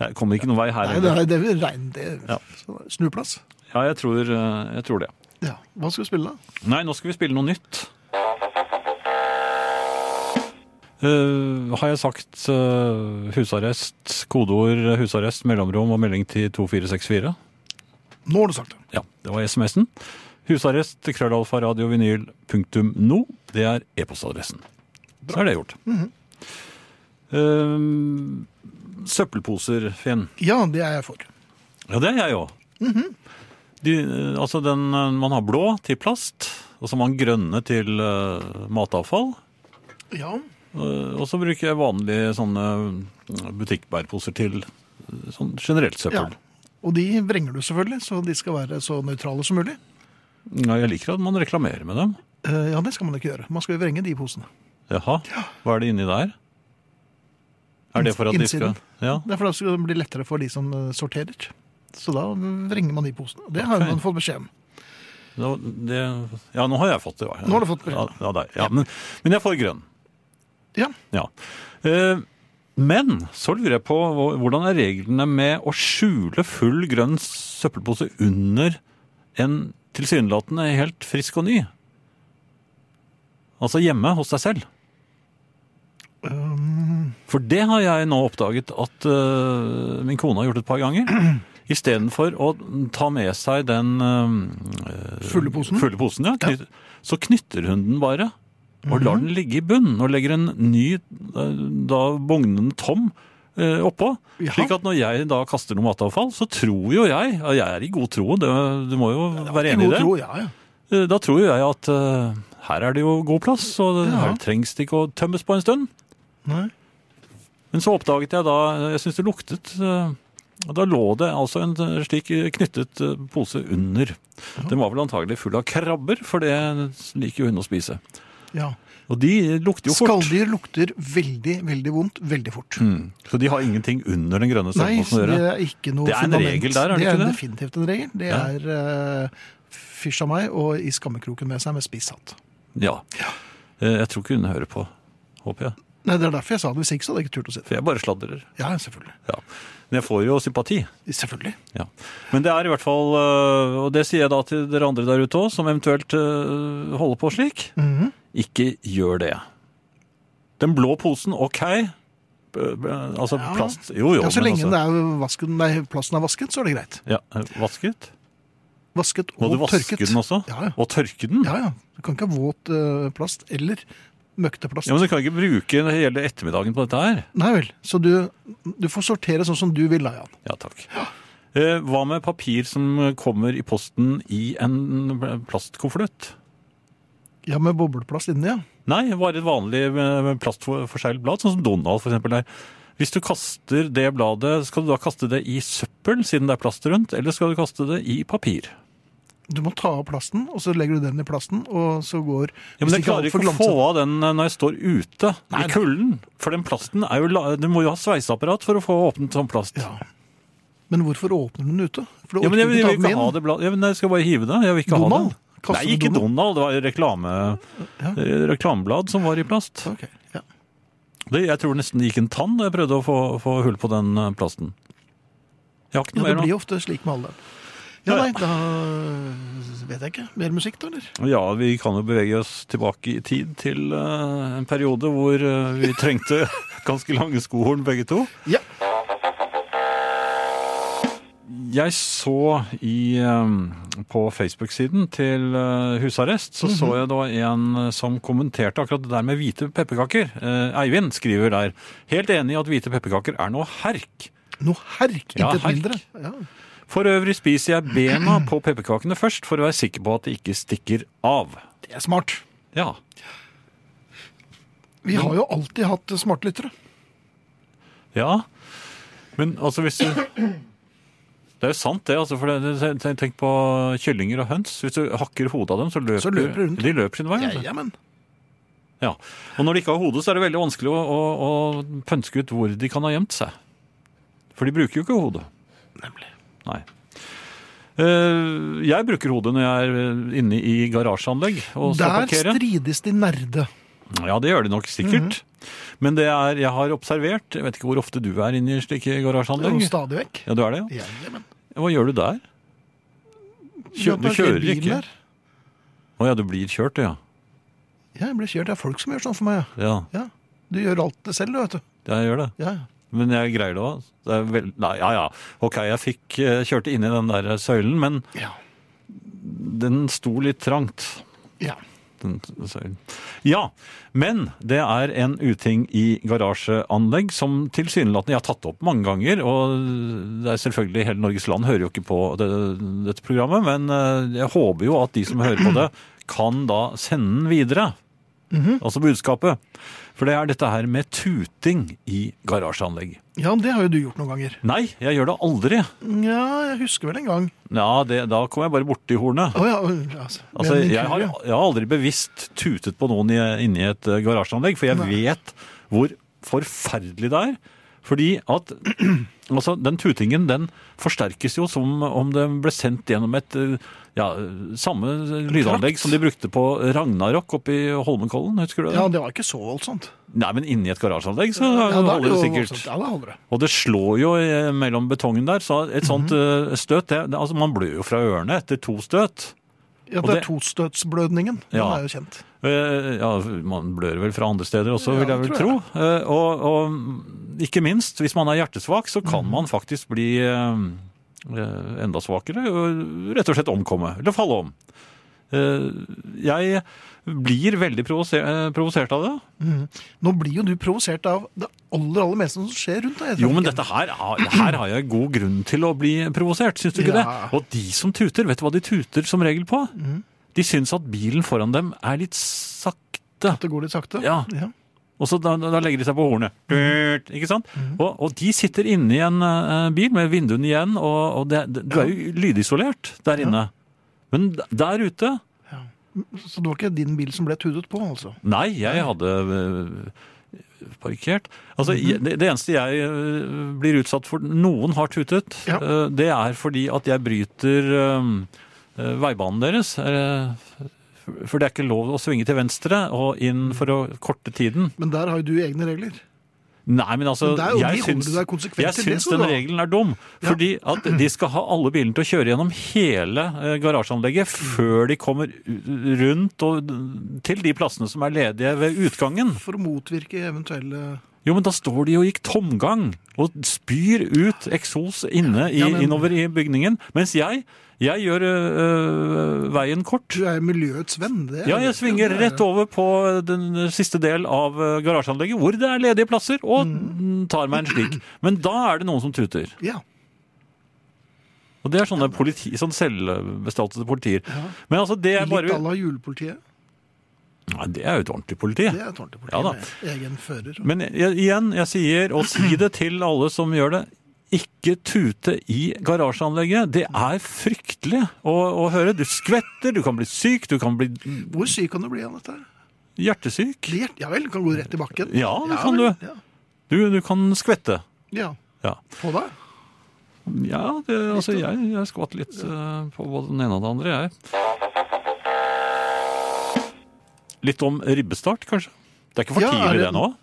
S3: Jeg kommer ikke noen vei her
S2: Nei, det
S3: heller.
S2: er, det er rein det.
S3: Ja.
S2: så- Snuplass.
S3: Ja, jeg tror, eh, jeg tror det.
S2: Ja. Hva skal du spille, da?
S3: Nei, nå skal vi spille noe nytt. Eh, har jeg sagt eh, husarrest, kodeord eh, husarrest, mellomrom og melding til 2464?
S2: Nå har du sagt det.
S3: Ja, det var SMS-en. Husarrest til krøllalfa radiovinyl.no. Det er e-postadressen. Så er det gjort. Eh, søppelposer, Finn.
S2: Ja, det er jeg for.
S3: Ja, det er jeg òg.
S2: Mhm.
S3: altså den eh, man har blå til plast, og så har man grønne til eh, matavfall.
S2: Ja.
S3: Eh, Og så bruker jeg vanlige sånne eh, butikkbærposer til eh, sånn generelt
S2: ja.
S3: søppel.
S2: Og de vrenger du selvfølgelig, så de skal være så nøytrale som mulig.
S3: Ja, jeg liker at man reklamerer med dem.
S2: Eh, Ja, det skal man ikke gjøre. Man skal jo vrenge de posene.
S3: Jaha, hva er det inni der? Er det for at de skal
S2: Innsiden.
S3: Ja,
S2: Det er for da skal det bli lettere for de som eh, sorterer. Så da vrenger man de posene. Det har
S3: Ok.
S2: man fått beskjed om.
S3: nå- det, ja nå har jeg fått det. ja.
S2: Nå har du fått
S3: ja,
S2: beskjed.
S3: ja, der, ja. Men, men jeg får grønn.
S2: Ja.
S3: Ja. Eh, Men så lurer jeg på hvor- hvordan er reglene med å skjule full grønn søppelpose under en tilsynelatende helt frisk og ny? Altså hjemme hos deg selv. For det har jeg nå oppdaget at øh, min kone har gjort et par ganger. Istedenfor å ta med seg den øh,
S2: Fulle posen?
S3: fulle posen ja, knyt, så knytter hun den bare. Og lar
S2: Mhm.
S3: den ligge i bunnen, og legger en ny, øh, da bognen tom, øh, oppå.
S2: Ja.
S3: Slik at når jeg da kaster noe matavfall, så tror jo jeg og Jeg er i god tro, det, du må jo være enig i
S2: God
S3: det.
S2: tro, ja, ja.
S3: Eh, Da tror jo jeg at eh, her er det jo god plass, og det-
S2: Ja.
S3: her trengs det ikke å tømmes på en stund.
S2: Nei.
S3: Men så oppdaget jeg da Jeg syns det luktet eh, og Da lå det altså en eh, slik eh, knyttet eh, pose under. Den var vel antagelig full av krabber, for det liker jo hun å spise.
S2: Ja.
S3: Og de lukter jo fort.
S2: Skalldyr lukter veldig, veldig vondt veldig fort.
S3: Mm. Så de har ingenting under den grønne
S2: Nei,
S3: strømposen å
S2: det
S3: gjøre.
S2: er ikke noe
S3: Det er en
S2: fundament.
S3: regel der, er det ikke
S2: er
S3: det?
S2: definitivt en regel. Det
S3: Ja.
S2: er uh, fysj av meg og i skammekroken med seg med spisshatt.
S3: Ja. Eh, Jeg tror ikke hun hører på, håper jeg.
S2: Nei, Det er derfor jeg sa det. Hvis ikke så hadde jeg ikke turt å si det.
S3: For jeg bare sladrer.
S2: Ja, selvfølgelig.
S3: Ja. Men jeg får jo sympati.
S2: Selvfølgelig.
S3: Ja. Men det er i hvert fall, øh, og det sier jeg da til dere andre der ute òg, som eventuelt øh, holder på slik,
S2: Mhm.
S3: ikke gjør det. Den blå posen, OK. B- b- Altså
S2: Ja.
S3: plast Jo, jo.
S2: ja, så
S3: men
S2: lenge
S3: altså,
S2: det er vasken, nei, plassen er vasket, så er det greit.
S3: ja, øh, Vasket?
S2: Vasket
S3: Må
S2: og
S3: du vaske
S2: tørket.
S3: den også?
S2: Ja, ja.
S3: Og tørke den?
S2: Ja, ja. Du kan ikke ha våt eh, plast eller møkte plast.
S3: Ja, Men du kan ikke bruke hele ettermiddagen på dette her.
S2: Nei vel. Så du, du får sortere sånn som du vil, da, Jan.
S3: Ja, takk. Eh, Hva med papir som kommer i posten i en plastkonvolutt?
S2: Ja, med bobleplast inni, ja.
S3: Nei, bare et vanlig eh, plastforseglet blad, sånn som Donald for eksempel er. Hvis du kaster det bladet, skal du da kaste det i søppel, siden det er plast rundt, eller skal du kaste det i papir?
S2: Du må ta av plasten, og så legger du den i plasten, og så går
S3: Ja, men jeg klarer ikke å få av den eh, når jeg står ute
S2: Nei, nei.
S3: i kulden, for den plasten er jo la- Du må jo ha sveiseapparat for å få åpnet sånn plast.
S2: Ja. Men hvorfor åpner du den ute? For
S3: Ja, men jeg,
S2: orker
S3: vil- jeg
S2: ta
S3: vil
S2: den
S3: ikke ha
S2: inn.
S3: det bladet. Ja, men jeg skal bare hive det. Jeg vil ikke
S2: Donald?
S3: ha det.
S2: Kaster du
S3: Nei, ikke
S2: Donald?
S3: Donald. Det var reklame, eh, reklameblad som var i plast.
S2: Ok, ja.
S3: Det, jeg tror nesten det gikk en tann da jeg prøvde å få, få hull på den eh, plasten. Jeg har ikke
S2: ja,
S3: noe
S2: det
S3: mer
S2: blir
S3: nå.
S2: jo ofte slik med alderen. Ja,
S3: Ja, ja.
S2: nei, da vet jeg ikke. Mer musikk, da, eller?
S3: Ja, vi kan jo bevege oss tilbake i tid til eh, en periode hvor eh, vi trengte ganske lange skohorn begge to.
S2: Ja.
S3: Jeg så i, eh, på Facebook-siden til eh, husarrest, så
S2: Mhm.
S3: så jeg da en som kommenterte akkurat det der med hvite pepperkaker. Eh, Eivind skriver der, helt enig i at hvite pepperkaker er noe herk.
S2: Noe herk,
S3: Ja,
S2: intet
S3: herk.
S2: mindre. Ja.
S3: For øvrig spiser jeg bena på pepperkakene først for å være sikker på at de ikke stikker av.
S2: Det er smart.
S3: Ja,
S2: Vi har jo alltid hatt smartlyttere.
S3: ja. Men altså hvis du... Det er jo sant det, altså, for det, det- tenk- tenk på kyllinger og høns. Hvis du hakker hodet av dem, så løper,
S2: Så løper de rundt.
S3: de løper sin vei. altså.
S2: Ja, men
S3: Ja. Og når de ikke har hodet, så er det veldig vanskelig å, å, å pønske ut hvor de kan ha gjemt seg. For de bruker jo ikke hodet.
S2: Nemlig.
S3: Nei. Eh, Jeg bruker hodet når jeg er inne i garasjeanlegg og skal
S2: Der
S3: parkere.
S2: strides de nerde.
S3: Ja, det gjør det nok sikkert. Men det er, jeg har observert, jeg vet ikke hvor ofte du er inne i slike
S2: Det er jo
S3: garasjeanlegg.
S2: stadig vekk.
S3: Ja, du er det, ja.
S2: Ja, men.
S3: Hva gjør du der? Kjø, du
S2: Jeg parkerer
S3: kjører
S2: bilen
S3: ikke.
S2: her.
S3: Å ja, du blir kjørt, ja.
S2: Ja, jeg blir kjørt. Det er folk som gjør sånn for meg. ja.
S3: Ja,
S2: Ja. Du gjør alt det selv, du, vet du.
S3: jeg gjør det.
S2: Ja.
S3: Men jeg greier det òg. Vel... Nei, ja ja. Ok, jeg fikk eh, kjørte inn i den der søylen, men
S2: Ja.
S3: den sto litt trangt.
S2: ja.
S3: Den søylen. Ja, men det er en uting i garasjeanlegg som tilsynelatende jeg har tatt opp mange ganger. Og det er selvfølgelig hele Norges land hører jo ikke på det, dette programmet, men eh, jeg håper jo at de som hører på det, kan da sende den videre. Altså budskapet. For det er dette her med tuting i garasjeanlegg.
S2: ja, det har jo du gjort noen ganger.
S3: Nei, jeg gjør det aldri.
S2: Ja, jeg husker vel en gang.
S3: Ja, det, da kom jeg bare borti hornet.
S2: Å ja, altså, med
S3: Altså,
S2: en
S3: jeg, har,
S2: inkurie.
S3: jeg har aldri bevisst tutet på noen i- inni et eh, garasjeanlegg, for jeg vet hvor forferdelig det er. Fordi at altså, den tutingen den forsterkes jo som om det ble sendt gjennom et eh, ja, samme lydanlegg som de brukte på Ragnarok oppe i Holmenkollen. Husker du det?
S2: Ja, det var ikke så voldsomt.
S3: Nei, men inni et garasjeanlegg så
S2: Ja, da er
S3: holder det
S2: jo
S3: sikkert.
S2: voldsomt. Ja, da holder det.
S3: Og det slår jo eh,
S2: Mhm.
S3: mellom betongen der, så et sånt eh, støt det, det, altså Man blør jo fra ørene etter to støt.
S2: Ja,
S3: Og
S2: det
S3: det-
S2: er tostøtsblødningen. Den
S3: Ja.
S2: er jo kjent.
S3: Eh, Ja, man blør vel fra andre steder også,
S2: Ja,
S3: vil jeg
S2: det
S3: vel tro.
S2: tror
S3: Eh, Og, og ikke minst, hvis man er hjertesvak, så
S2: Mhm.
S3: kan man faktisk bli eh, eh, enda svakere og rett og slett omkomme, eller falle om. Eh, Jeg blir veldig provose- eh, provosert av det.
S2: Nå blir jo du provosert av det aller aller meste som skjer rundt deg.
S3: Jo, men dette her, har- her har jeg god grunn til å bli provosert, syns du ikke
S2: Ja. Mhm.
S3: det? Og de som tuter, vet du hva de tuter som regel på? De syns at bilen foran dem er litt sakte.
S2: Det går litt sakte.
S3: Ja. Og så da, da legger de seg på hornet. Durt, ikke sant? Og, og de sitter inne i en eh, bil med vinduene igjen, og, og det, det, du er jo lydisolert der inne. Men d- der ute
S2: Så det var ikke din bil som ble tudet på, altså?
S3: Nei, jeg hadde eh, parkert. Altså, jeg- det, det eneste jeg eh, blir utsatt for Noen har tutet.
S2: Ja.
S3: eh, det er fordi at jeg bryter eh, eh, veibanen deres. eh, for- for det er ikke lov å svinge til venstre og inn for å korte tiden.
S2: Men der har jo du egne regler.
S3: Nei, men
S2: Men
S3: altså,
S2: det er jo
S3: jeg
S2: de
S3: syns,
S2: holdene du er konsekvent
S3: jeg
S2: til, det
S3: syns
S2: skal
S3: den
S2: du ha.
S3: regelen er dum. Fordi at de skal ha alle bilene til å kjøre gjennom hele eh, garasjeanlegget
S2: Mm.
S3: før de kommer u- rundt og til de plassene som er ledige ved utgangen.
S2: For å motvirke eventuelle
S3: Jo, men da står de og gikk tomgang og spyr ut eksos inne i,
S2: Ja, men-
S3: innover i bygningen. Mens jeg, jeg gjør eh, veien kort.
S2: Du er miljøets venn, det. er-
S3: Ja, jeg svinger
S2: det er-
S3: rett over på den siste del av eh, garasjeanlegget, hvor det er ledige plasser, og mm, tar meg en slik. Men da er det noen som tuter.
S2: Ja.
S3: Og det er sånne, politi, sånn selvbestaltede politier. Men altså, det er
S2: Litt à
S3: bare
S2: la julepolitiet.
S3: Nei, Det er jo et ordentlig politi.
S2: Det er et ordentlig politi
S3: Ja da.
S2: med egen fører.
S3: Men jeg, igjen, jeg sier, og si det til alle som gjør det, ikke tute i garasjeanlegget. Det er fryktelig å, å høre. Du skvetter, du kan bli syk, du kan bli
S2: Hvor syk kan du bli av dette?
S3: hjertesyk.
S2: Blir hjert- Ja vel, kan gå rett i bakken.
S3: Ja, det kan
S2: vel,
S3: du.
S2: Ja.
S3: Du, du kan skvette.
S2: ja.
S3: Ja.
S2: På deg?
S3: Ja, det, altså jeg, jeg skvatt litt eh, på både den ene og den andre, jeg. Litt om ribbestart, kanskje? Det er ikke for
S2: Ja, er
S3: tidlig
S2: det-
S3: det nå?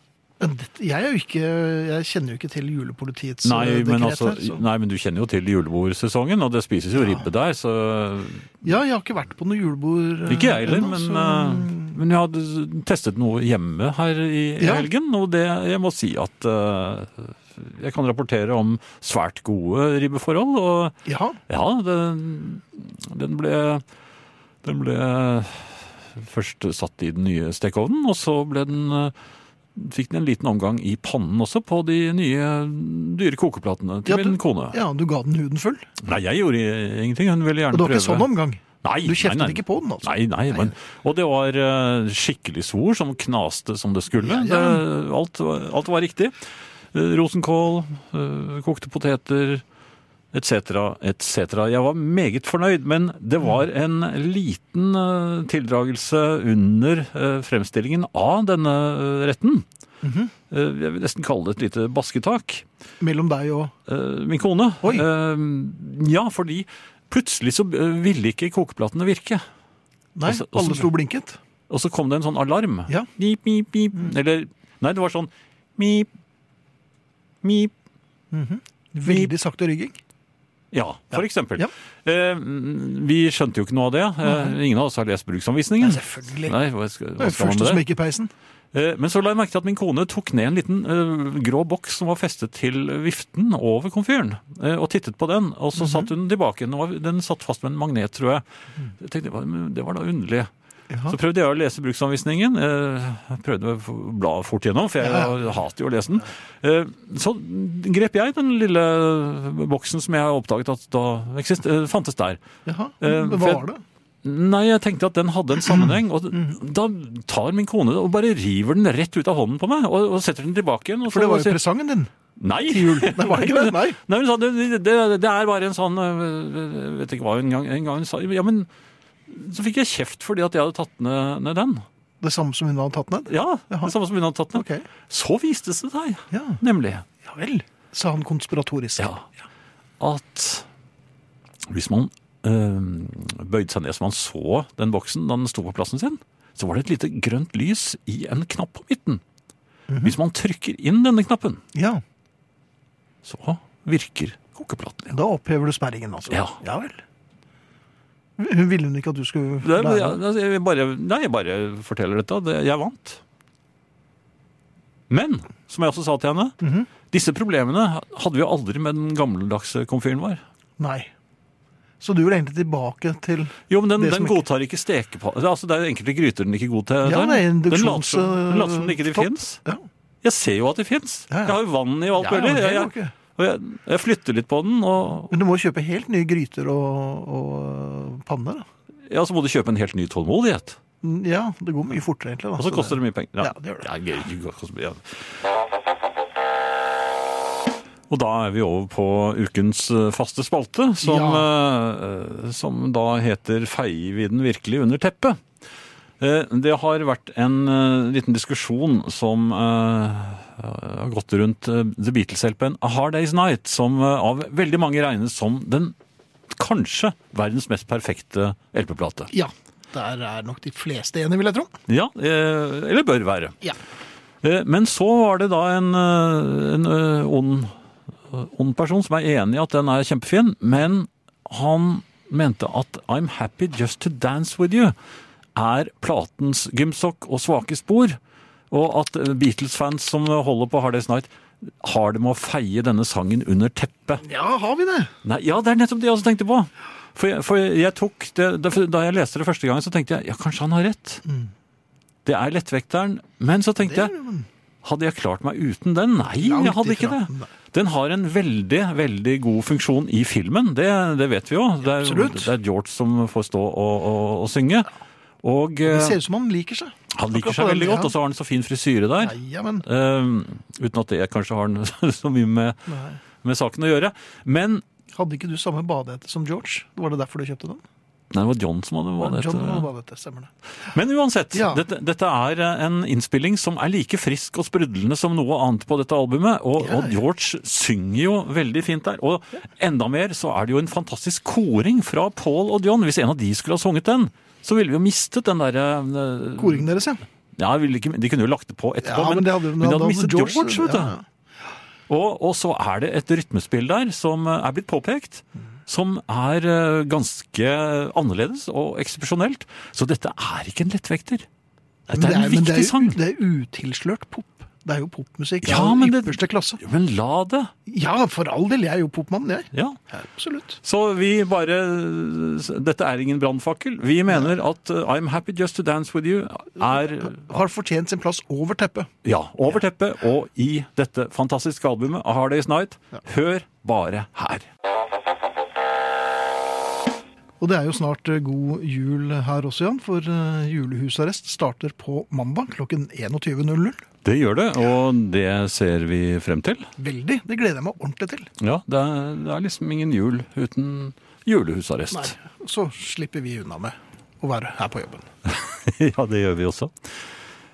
S2: Men dette- Jeg, er jo ikke, jeg kjenner jo ikke til julepolitiets
S3: Nei
S2: eh, dekret
S3: men, altså,
S2: her. Så.
S3: nei, men du kjenner jo til julebordsesongen, og det spises jo ribbe der, så
S2: Ja, jeg har ikke vært på noe julebord. eh,
S3: Ikke jeg heller,
S2: ennå,
S3: men,
S2: så-
S3: eh, men jeg hadde testet noe hjemme her i i
S2: Ja.
S3: helgen, og det, jeg må si at eh, jeg kan rapportere om svært gode ribbeforhold, og
S2: Ja,
S3: Ja, den, den ble Den ble først satt i den nye stekeovnen, og så ble den eh, Fikk den en liten omgang i pannen også, på de nye dyre kokeplatene til
S2: Ja, du-
S3: min kone.
S2: ja, du ga den huden full.
S3: Nei, jeg gjorde ingenting. Hun ville gjerne
S2: Og det var
S3: prøve.
S2: ikke sånn omgang.
S3: Nei,
S2: Du kjeftet
S3: nei, nei.
S2: ikke på den, altså?
S3: Nei, nei, men, og det var eh, skikkelig svor som knaste som det skulle.
S2: Ja, ja.
S3: Det, alt, var- alt var riktig. Eh, rosenkål, eh, kokte poteter, etc., etc. Jeg var meget fornøyd, men det var en liten eh, tildragelse under eh, fremstillingen av denne eh, retten.
S2: Mhm.
S3: Eh, jeg vil nesten kalle det et lite basketak
S2: Mellom deg og
S3: eh, min kone.
S2: Oi.
S3: Eh, ja, fordi plutselig så eh, ville ikke kokeplatene virke.
S2: Nei,
S3: Altså, altså-
S2: alle sto og blinket.
S3: Og så kom det en sånn alarm.
S2: Ja. Mm.
S3: Pip, pip, pip. Eller Nei, det var sånn Mip, mip.
S2: Veldig sakte rygging.
S3: Ja, for eksempel.
S2: Ja.
S3: Eh, vi skjønte jo ikke noe av det. Eh, ingen av oss har lest bruksanvisningen.
S2: Nei, selvfølgelig.
S3: Nei, hva skal,
S2: Det
S3: hva
S2: er
S3: skal man
S2: Første
S3: med det?
S2: smekk i peisen.
S3: Eh, Men så la jeg merke til at min kone tok ned en liten eh, grå boks som var festet til viften over komfyren, eh, og tittet på den. Og så satt hun tilbake. Den, var, den satt fast med en magnet, tror jeg. jeg tenkte, "Hva- men det var da underlig.
S2: Ja.
S3: Så prøvde jeg å lese bruksanvisningen. eh, Jeg prøvde å f- bla fort gjennom, for jeg hater jo å lese den. Eh, Så grep jeg den lille boksen som jeg oppdaget at da eksist, eh, fantes der.
S2: Jaha.
S3: Eh,
S2: Hva
S3: for jeg-
S2: var det?
S3: Nei, jeg tenkte at den hadde en sammenheng, og
S2: Mm.
S3: da tar min kone og bare river den rett ut av hånden på meg, og, og setter den tilbake igjen. Og
S2: For det
S3: så-
S2: var jo
S3: sier-
S2: presangen din.
S3: Nei!
S2: Nei, var det ikke det? Nei.
S3: Nei, men sa, det, det, det er bare en sånn øh, Vet ikke hva hun en gang, en gang sa. Ja, men så fikk jeg kjeft fordi at jeg hadde tatt ned, ned den.
S2: Det samme som hun hadde tatt ned?
S3: Ja,
S2: Jaha.
S3: det samme som hun hadde tatt ned.
S2: Ok.
S3: Så viste det seg,
S2: Ja.
S3: nemlig,
S2: Ja vel, sa han konspiratorisk.
S3: Ja. at hvis man øh, bøyde seg ned så man så den boksen da den sto på plassen sin, så var det et lite grønt lys i en knapp på midten. Hvis man trykker inn denne knappen,
S2: Ja,
S3: så virker kokeplaten igjen.
S2: Da opphever du sperringen, altså?
S3: Ja.
S2: vel. Hun ville hun ikke at du skulle
S3: Det, er-
S2: lære.
S3: ja, altså, jeg, vil bare, nei, jeg bare forteller dette. Det, jeg vant. Men, som jeg også sa til henne,
S2: Mhm.
S3: disse problemene hadde vi jo aldri med den gammeldagse komfyren vår.
S2: Nei. Så du vil egentlig tilbake til
S3: Jo, men den,
S2: Det som
S3: den
S2: ikke-
S3: godtar ikke stekepanne. Altså, det er jo enkelte gryter den ikke godtar.
S2: Ja, det er
S3: den later
S2: induksjons-
S3: som- den later som den ikke de
S2: topp.
S3: fins.
S2: Ja.
S3: Jeg ser jo at de fins.
S2: Ja, ja.
S3: Jeg har jo vann i alt
S2: Ja,
S3: mulig.
S2: det
S3: Jeg,
S2: er jo
S3: jeg,
S2: ikke.
S3: og jeg, jeg flytter litt på den, og
S2: Men du må jo kjøpe helt nye gryter og, og panner. da.
S3: ja, så må du kjøpe en helt ny tålmodighet.
S2: Mm, Ja, det går mye fortere, egentlig. da.
S3: Og så koster det mye penger.
S2: Ja, det gjør det.
S3: Ja, det gjør- det koster mye, ja. Og da er vi over på ukens eh, faste spalte, som, eh, som da heter Feier vi den virkelig under teppet? Eh, Det har vært en eh, liten diskusjon som eh, har gått rundt eh, The Beatles-LP-en A Hard Day's Night, som eh, av veldig mange regnes som den kanskje verdens mest perfekte LP-plate.
S2: Ja. Der er nok de fleste enige, vil jeg tro.
S3: Ja, eh, eller bør være.
S2: Ja.
S3: Eh, Men så var det da en, eh, en eh, ond, eh, ond person som er enig i at den er kjempefin, men han mente at I'm happy just to dance with you er platens gymsokk og svake spor, og at eh, Beatles-fans som holder på Hard Day's Night har det med å feie denne sangen under teppet.
S2: Ja, har vi det?
S3: Nei, ja, det er nettopp det jeg også tenkte på. For jeg, for jeg tok det, det, Da jeg leste det første gangen, så tenkte jeg ja, kanskje han har rett.
S2: Mm.
S3: Det er lettvekteren. Men så tenkte jeg hadde jeg klart meg uten den? Nei,
S2: Langt
S3: jeg hadde ikke
S2: ifra.
S3: det.
S2: Nei.
S3: Den har en veldig veldig god funksjon i filmen, det, det vet vi jo. Det er,
S2: Absolutt.
S3: det er George som får stå og, og, og synge. Og
S2: Det
S3: eh,
S2: ser ut som han liker seg.
S3: han liker
S2: Akkurat
S3: seg
S2: på den,
S3: veldig godt,
S2: ja.
S3: og så har han så fin frisyre der.
S2: Nei, ja, men
S3: Eh, uten at det kanskje har så mye med,
S2: Nei.
S3: med saken å gjøre. Men
S2: Hadde ikke du samme badehette som George? Var det derfor du kjøpte den?
S3: Nei, det var John som hadde hva det
S2: John
S3: heter.
S2: hadde badehette, stemmer det.
S3: Men uansett,
S2: Ja.
S3: dette, dette er eh, en innspilling som er like frisk og sprudlende som noe annet på dette albumet,
S2: Ja,
S3: og,
S2: ja.
S3: og George synger jo veldig fint der. Og enda mer så er det jo en fantastisk koring fra Paul og John. Hvis en av de skulle ha sunget den, så ville vi jo mistet den derre eh,
S2: Koringen deres, ja.
S3: ja, jeg ville ikke, De kunne jo lagt det på etterpå,
S2: Ja,
S3: men, men,
S2: hadde-
S3: de hadde
S2: hadde
S3: mistet George, vet du.
S2: ja, ja.
S3: Og, og så er det et rytmespill der som eh, er blitt påpekt, som er eh, ganske annerledes og eksepsjonelt. Så dette er ikke en lettvekter.
S2: Men
S3: Dette er en
S2: men
S3: viktig
S2: det er,
S3: sang.
S2: Det er utilslørt pop. Det er jo popmusikk
S3: Ja,
S2: av
S3: men det-
S2: ypperste klasse.
S3: Jo, Men la det.
S2: Ja, for all del. Jeg er jo popmann, jeg.
S3: Ja.
S2: Absolutt.
S3: Så vi bare Dette er ingen brannfakkel. Vi mener at eh, I'm happy just to dance with you er
S2: Har fortjent sin plass over teppet.
S3: ja, over teppet og i dette fantastiske albumet A Hard Day's Night. Hør bare her.
S2: Og det er jo snart eh, god jul her også, Jan, for eh, julehusarrest starter på mandag klokken 21.00.
S3: Det gjør det, og det ser vi frem til.
S2: Veldig. Det gleder jeg meg ordentlig til.
S3: Ja, det er, det er liksom ingen jul uten julehusarrest.
S2: Nei, så slipper vi unna med å være her på jobben.
S3: ja, det gjør vi også.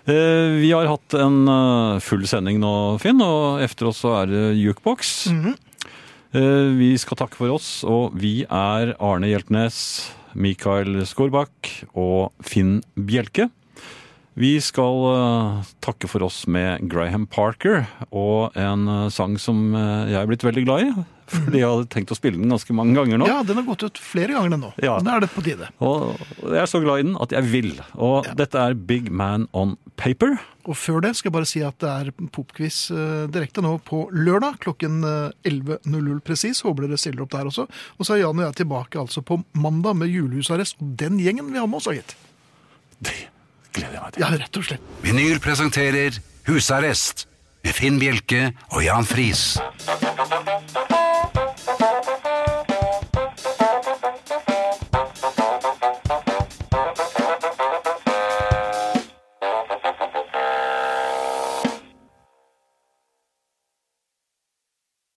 S3: Eh, Vi har hatt en eh, full sending nå, Finn, og efter oss så er det Jukebox. Eh, Vi skal takke for oss, og vi er Arne Hjeltnes, Mikael Skorbakk og Finn Bjelke. Vi skal eh, takke for oss med Graham Parker og en eh, sang som eh, jeg er blitt veldig glad i. Fordi jeg hadde tenkt å spille den ganske mange ganger nå.
S2: Ja, den har gått ut flere ganger den nå.
S3: Ja.
S2: Da er det på tide.
S3: Og jeg er så glad i den at jeg vil. Og dette er Big Man on Paper.
S2: Og før det skal jeg bare si at det er popquiz eh, direkte nå på lørdag klokken eh, 11.00 presis. Håper dere stiller opp der også. Og så er Jan og jeg tilbake altså på mandag med julehusarrest og den gjengen vi har med oss, har gitt.
S3: Det gleder jeg meg til.
S2: Ja, rett og slett.
S1: Vinyl presenterer Husarrest med Finn Bjelke og Jan Friis.